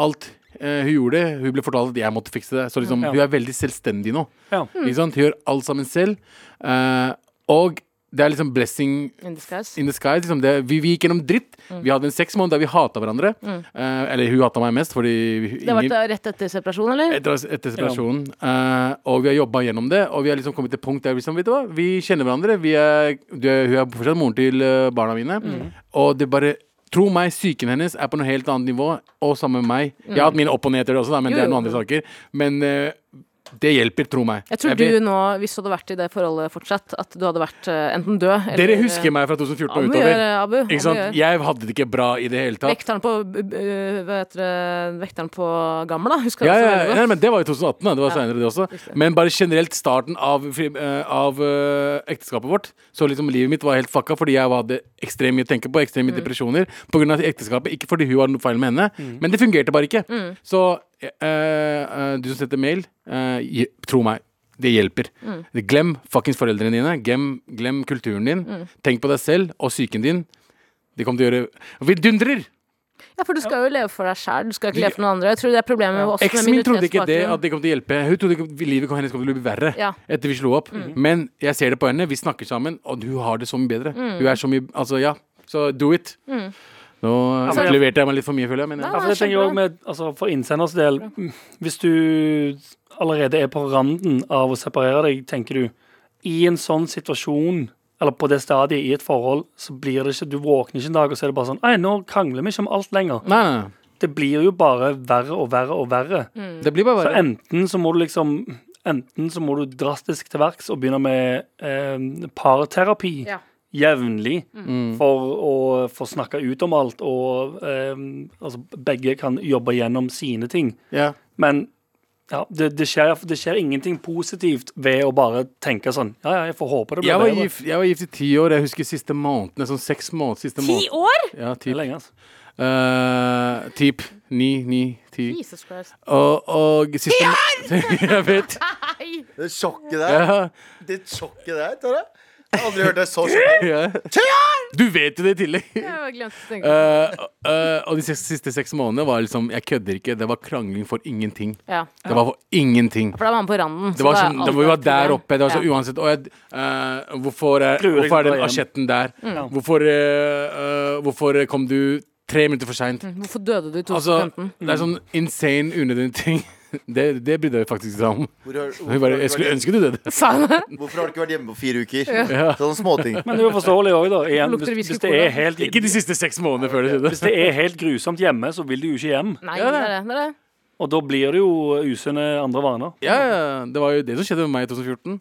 Alt eh, hun gjorde, hun ble fortalt at jeg måtte fikse det. Så liksom, Mm, Ja. hun er veldig selvstendig nå. Ja. Ikke sant? Hun gjør alt sammen selv. Eh, og det er liksom blessing In disguise. in the sky. Liksom det, vi, vi gikk gjennom dritt. Mm. Vi hadde en seks måned der vi hata hverandre. Eh, eller hun hata meg mest, fordi vi- Det ingen- var rett etter separasjon, eller? etter, etter separasjonen. Eh, og vi har jobba gjennom det, og vi har liksom kommet til et punkt der vi, liksom, vet du hva? vi kjenner hverandre. Vi er, du, er- hun er fortsatt moren til eh, barna mine. Mm. Og det bare Tro meg, psyken hennes er på noe helt annet nivå, og sammen med meg. Jeg har hatt mine opp- og nedturer også, da, men Mm. Jo, det er jo. noen andre saker. Men eh, det hjelper, tro meg. Jeg tror vet- du nå, hvis du hadde vært i det forholdet fortsatt, at du hadde vært eh, enten død eller eh, Dere husker meg fra 2014 og Abu utover. gjør, Abu, Abu Ikke sant? gjør. Jeg hadde det ikke bra i det hele tatt. Vekteren på, b- b- hva heter det, vekteren på Gammel, da. Husker Ja, jeg ja, også veldig ja, godt. men Det var i 2018, da. det var Ja. senere det også. Riktig. Men bare generelt starten av, fri- eh, av eh, ekteskapet vårt. Så liksom livet mitt var helt fucka fordi jeg hadde ekstremt mye å tenke på. Ekstremt Mm. mye depresjoner på grunn av ekteskapet. Ikke fordi hun var noe feil med henne, men det fungerte bare ikke. Mm. Så eh, eh, du som setter mail, eh, je- tro meg. Det hjelper. Mm. Glem fuckings foreldrene dine. Glem, glem kulturen din. Mm. Tenk på deg selv og psyken din. Det kommer til å gjøre Vidundrer! Ja, for du skal jo leve for deg sjæl, du skal ikke leve for noen andre. Jeg tror det er problemet med også Eksen med min trodde ikke det minoritetsbakgrunn. at det kom til å hjelpe. Hun trodde ikke livet hennes kom til å bli verre Ja. Mm. etter vi slo opp. Men jeg ser det på henne, vi snakker sammen, og hun har det så mye bedre. Mm. Hun er så mye Altså, ja. Så do it. Nå eh, men- leverte jeg meg litt for mye, føler jeg. Men Nei, Ja, ja. for det tenker jeg også med, altså, For innsenders del, mm, hvis du allerede er på randen av å separere deg, tenker du, i en sånn situasjon, eller på det stadiet i et forhold, så blir det ikke Du våkner ikke en dag, og så er det bare sånn Nei, nå krangler vi ikke om alt lenger. nei, nei, nei. Det blir jo bare verre og verre og verre. Det blir bare Så verre. enten så må du liksom Enten så må du drastisk til verks og begynne med eh, parterapi Ja. Mm. jevnlig for å få snakka ut om alt, og eh, altså, begge kan jobbe gjennom sine ting. Ja. Men ja, det, det, skjer, det skjer ingenting positivt ved å bare tenke sånn Ja, ja, jeg får håpe det Jeg blir var, bedre. gift, jeg var gift i ti år. Jeg husker siste månedene. Sånn seks måneder. Siste måned. Ti år?! Ja, Det er typ. lenge, altså. Eh, typ ni, ni, ti. Jesus Christ. Og, og siste Jeg vet. Det sjokket der, Ja, det sjokket der, Tara. Jeg har aldri hørt deg så sjokket. ja. Du vet jo det i tillegg. Jeg glemte å tenke på det. Eh, eh, og de seks- siste seks månedene var liksom Jeg kødder ikke. Det var krangling for ingenting. Ja. Det var for ingenting. For da var man på randen. så Det var da er sånn, det, alt vi var et problem. der oppe. Det var så Ja. uansett og jeg, eh, hvorfor, er, Prøver ikke hvorfor er å den dra asjetten der? Mm, Hvorfor, eh, eh, hvorfor kom du tre minutter for seint? Hvorfor døde du i Altså, 2015? det er sånn insane, unødvendige ting. Det, det brydde jeg meg faktisk ikke om. Hvor har- Hvorfor, Jeg, har bare, du jeg vært skulle hjemme- ønske du døde. Sa han det? hvorfor har du ikke vært hjemme på fire uker? Sånne småting. Men det er jo forståelig òg, da. Igjen, Lukter det hvis, hvis, det whisky-cola? er helt, Ikke de siste seks månedene før det hvis skjedde. det er helt grusomt hjemme, så vil du jo ikke hjem. Nei, Ja, det det. er det. det, er det. Og da blir det jo usunne andre vaner. Ja, ja, det var jo det som skjedde med meg i 2014.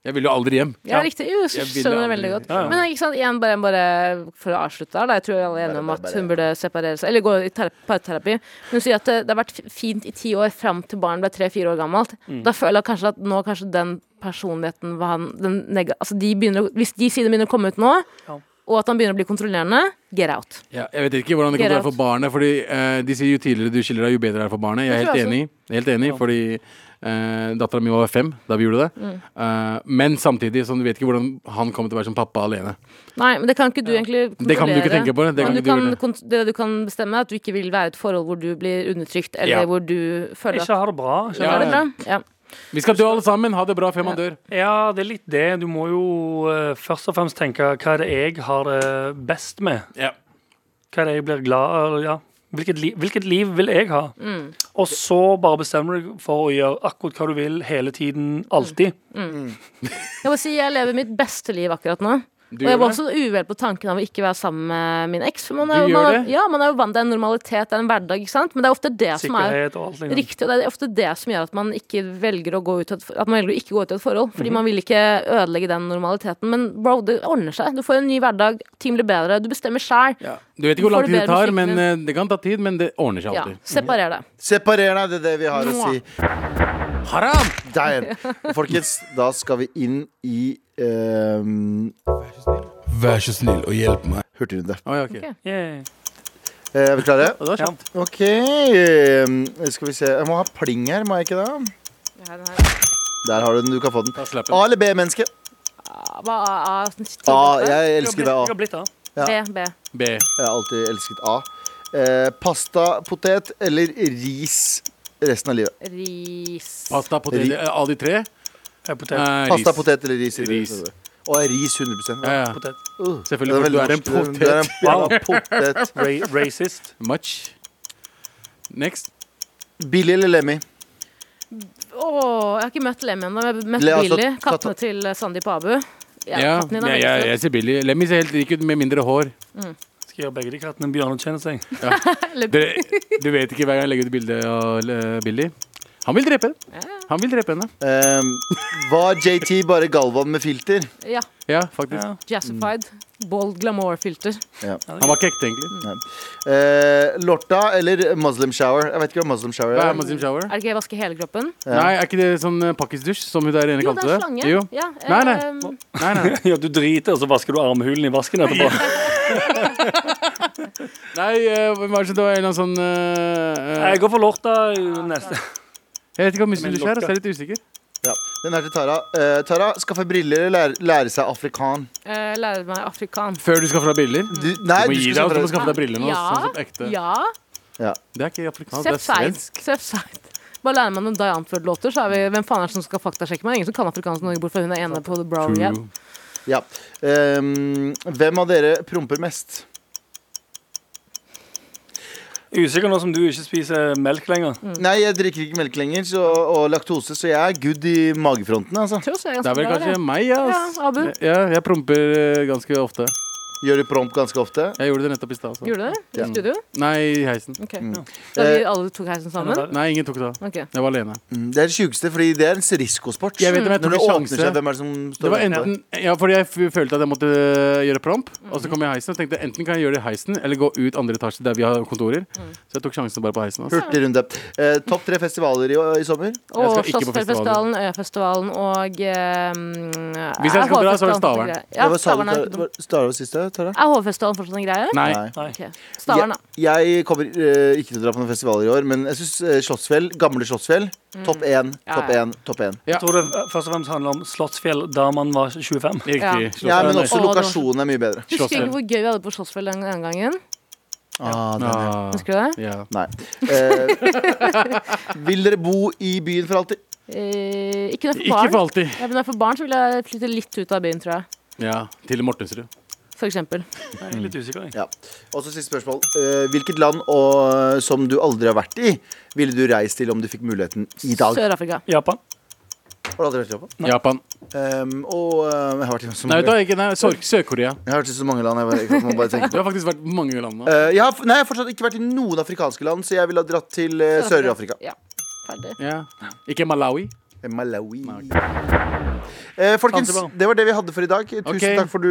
Jeg ville jo aldri hjem. Ja, riktig. Jo, jeg Jeg ville aldri- skjønner det veldig godt. Ja, ja. Men ikke sant, igjen, bare, bare for å avslutte der, da. Jeg tror alle er enige om at hun burde separere seg, eller gå i ter- parterapi. Hun sier at det, det har vært f- fint i ti år fram til barn ble tre-fire år gammelt. Mm. Da føler jeg kanskje at nå kanskje den personligheten hva han, den nega, altså de begynner, å- Hvis de sidene begynner å komme ut nå, Ja. og at han begynner å bli kontrollerende, get out. Ja, jeg vet ikke hvordan det kommer til å være for barnet. Fordi eh, De sier jo tidligere du skiller deg, jo bedre det er for barnet. Jeg er Det tror helt jeg enig. Helt enig, Fordi Uh, Dattera mi var fem da vi gjorde det. Mm. Eh, men samtidig, sånn, du vet ikke hvordan han kommer til å være som pappa alene. Nei, men det kan ikke du egentlig kontrollere. Det kan du ikke tenke på, det. Det kan men du ikke du kan, gjøre. kont- det du kan bestemme, er at du ikke vil være i et forhold hvor du blir undertrykt, eller Ja. hvor du føler at Ikke ha det bra. Ikke Ja, Er ha det det. bra? Ja. Vi skal dø alle sammen, ha det bra før man dør. Ja, det er litt det. Du må jo eh, først og fremst tenke hva er det jeg har det best med? Ja. Hva er det jeg blir glad av? Ja. Hvilket, li hvilket liv vil jeg ha? Og så bare bestemmer du deg for å gjøre akkurat hva du vil hele tiden, alltid. Jeg må si jeg lever mitt beste liv akkurat nå. Du og jeg gjør var det? også uvel på tanken av å ikke være sammen med min eks. For man Du er, jo- gjør man, er- det? ja, man er jo vant til en normalitet, det er en hverdag, ikke sant? Men det er ofte det som er Sikkerhet og alt. Liksom. riktig, og det er ofte det som gjør at man ikke velger å gå ut av et, at man velger å ikke gå ut av et forhold. Mhm. Fordi man vil ikke ødelegge den normaliteten. Men bro, det ordner seg. Du får en ny hverdag, ting blir bedre, du bestemmer sjæl. Du vet ikke hvor Får lang du tid det bedre tar, musikk, men men- eh, det kan ta tid, men det ordner seg Ja, alltid. separer det. Separer deg, det er det vi har å si. Haram! Der. Folkens, da skal vi inn i um, Vær så snill og hjelp meg. hurtigrunde. Å, ja, ok. Ok. Yeah. Eh, Er vi klare? Og det var Ja. kjapt. OK. ehm, Skal vi se. Jeg må ha pling her, må jeg ikke det? Der har du den. Du kan få den. Da slapp jeg. A eller B-menneske? Ja, hva er- er- er- A. Jeg elsker det, Jeg A. har blitt det. B, B. B. Jeg har alltid elsket A. Eh, pasta, potet eller ris resten av livet? Ris. Pasta, potet, Ri- eh, alle de tre? Jeg er potet. Eh, Pasta, ris. potet eller ris? Ris. Og ris 100 Ja, ja. potet. Uh, Selvfølgelig, det for er du er en veldig norsk. Du er en jævla potet. Ra racist. Much. Next. Billy eller Lemmy? Åh, jeg har ikke møtt Lemmy ennå. men Jeg har møtt Le- altså, Billy, katta- kattene til eh, Sandeep og Abu. Ja, Ja, katten din ja, er ja, veldig jeg ser billig. Lemmy ser helt rik ut med mindre hår. Skal gjøre begge de kattene en bjørnetjeneste. jeg. Dere, du vet ikke hver gang jeg legger ut bilde av eh, Billy. Han vil drepe Han vil drepe henne. Ehm, var JT bare Galvan med filter? søt. Ja, Ja, faktisk. Ja. Jazzified. Bold glamour-filter. Mm. Han var ikke ekte, egentlig. Eh, Lorta eller Muslim Shower? Jeg vet ikke hva Muslim Shower Hva er er. Muslim shower? Er det ikke å vaske hele kroppen? Nei, er ikke det sånn eh, pakkisdusj, som hun der inne Jo, det kalte er det? slange. Jo. Ja, eh, Nei, nei. ehm, Nei, nei. Ja, du driter, og så vasker du armhulen i vasken etterpå. nei eh, hva var det som- det var en eller annen sånn eh, eh, Jeg går for lorta i neste. Jeg vet ikke hva Muslim Men douche er, lokka. så jeg er litt usikker. Ja. Den er til Tara. Eh, Tara, skaffe briller eller lære, lære seg afrikan? eh, lærer meg afrikan. Før du skal fra briller? Du, nei, Du må du gi skal deg og så må du skaffe deg skaffe deg briller nå. Ja. Sånn som ekte. Ja. Det er ikke afrikansk, det Seff er svensk. Seid. Seff Seid. Bare lærer man noen Die Antwoord-låter, så er vi Hvem faen er det som skal faktasjekke meg? Ingen som kan afrikansk i Norge, bort fra hun er ene på The Brown True. Rehab. ja. Ehm, Hvem av dere promper mest? Usikker nå som du ikke spiser melk lenger. Mm. Nei, jeg drikker ikke melk lenger så, og laktose, så jeg er good i magefronten. Altså. Tror jeg er Det ganske er vel bra, kanskje det. meg, ja, ass. Ja, Abu. Ja, jeg promper eh, ganske ofte. Gjør du promp ganske ofte? Jeg gjorde det nettopp i stad. altså. Gjorde du det? I Ja. studio? Nei, i heisen. Ok. Mm. Da Eh, vi alle tok heisen sammen? Nei, Nei, ingen tok det. Ok. Jeg var alene. Mm, Det er det sjukeste, fordi det er en risikosport. Jeg vet om jeg Når det tok en åpner seg, sjanse. hvem er det som Det står var bak enten, ja, fordi jeg f- følte at jeg måtte eh, gjøre promp, og Mhm. så kom jeg i heisen og tenkte enten kan jeg gjøre det i heisen eller gå ut andre etasje der vi har kontorer. Mm. Så jeg tok sjansen bare på heisen. altså. ass. Hurtig runde. Eh, topp tre festivaler i, i Jeg Og sommer? skal ikke på Slottsfjellfestivalen, Øyafestivalen og eh, mm, Hvis jeg skal dra, så er det Stavern. Ja, Hva sa du, Stavern er Tara? Hva- Stavern var siste, Tara? Er Hovefestivalen fortsatt en greie? Nei. Nei. nei. Ok. Stavern, da. Jeg, jeg kommer eh, ikke til å dra på noen festivaler i år, men jeg syns Slottsfjell, gamle Slottsfjell, topp én, Mm. Ja, topp ja. én, topp én. Ja. Jeg tror det eh, først og fremst handler om Slottsfjell da man var 25. Riktig. Ja. Slottsfjell. Ja, men Å, også det var- lokasjonen er mye bedre. Husker Slottsfjell. ikke hvor gøy vi hadde på Slottsfjell den den gangen. Ah, den er- Ah, Husker du det? ja. Nei. Eh, vil dere bo i byen for alltid? Eh, ikke når jeg er for Ikke barn. for alltid. ja, men når jeg er for barn, så vil jeg flytte litt ut av byen, tror jeg. Ja, Til Mortensrud. For eksempel. Jeg er litt usikker. jeg. Ja. Og så siste spørsmål. Eh, hvilket land og, som du aldri har vært i, ville du reist til om du fikk muligheten i dag? Sør-Afrika. Japan. Har du aldri vært i Japan? Japan. Ehm, og eh, jeg har vært i så Nei, mange vet du hva, ikke, nei, Sør- Sør-Korea. Jeg har vært i så mange land. Jeg, bare, jeg må bare tenke Du har faktisk vært på mange land nå. Eh, jeg har, f- nei, jeg har fortsatt ikke vært i noen afrikanske land, så jeg ville ha dratt til eh, Sør-Afrika. Ja. Ferdig. Ja. Ikke Malawi. Malawi. Eh, folkens, Zanzibar. det var det vi hadde for i dag. Tusen Ok. takk for du,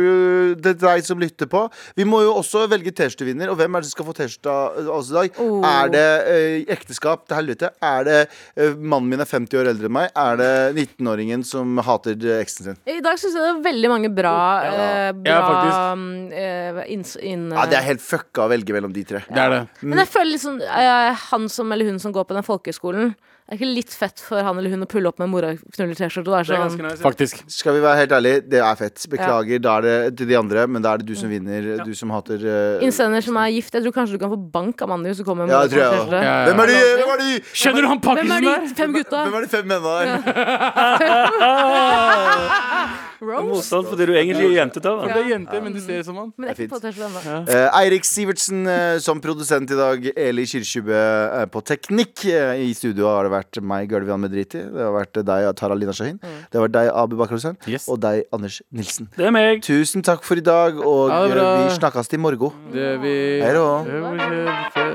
det er deg som lytter på. Vi må jo også velge T-skjortevinner, og hvem er det som skal få T-skjorte av oss i dag? Oh. Er det eh, ekteskap til helvete? Er det eh, mannen min er 50 år eldre enn meg? Er det 19-åringen som hater eh, eksen sin? I dag syns jeg det er veldig mange bra, eh, bra Ja, faktisk. mm, eh, inns- inn, Ja, det er helt fucka å velge mellom de tre. Det er det. sånn, Men jeg føler liksom eh, han som eller hun som går på den folkehøyskolen Er det ikke litt fett for han eller hun å pulle opp med mora knuller T-skjorte? da? Det er Er ganske sånn, nice. ja. Faktisk. Skal vi være helt ærlige, det er fett. Beklager da er det til de andre, men da er det du som vinner. Du som hater eh, Innsender som er gift. Jeg tror kanskje du kan få bank av mannen din hvis du kommer med Ja, mora det tror jeg knuller også. T-skjorte. Ja, ja, ja. Hvem er de? Hvem er de? Skjønner du han Hvem pakkisen er der? de fem gutta? Hvem er de fem mennene der? Rose? Morsomt, fordi du egentlig er jentete. da. Det er jente, men de ser ut som han. Men Det er ikke på T-skjorte ennå. Eh, Eirik Sivertsen eh, som produsent i dag. Eli Kirkjubø eh, på teknikk. Eh, I studio har det vært meg, Gølvian Medriti. Det har vært deg, Tara Lina Shahin. Det har vært deg, Abu Bakar Hussein. Mm. Yes. Og deg, Anders Nilsen. Det er meg. Tusen takk for i dag, og Ha det eh, bra. vi snakkes til morgen. Det vi Hei da.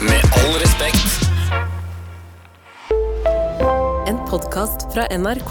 Med all respekt. En podkast fra NRK.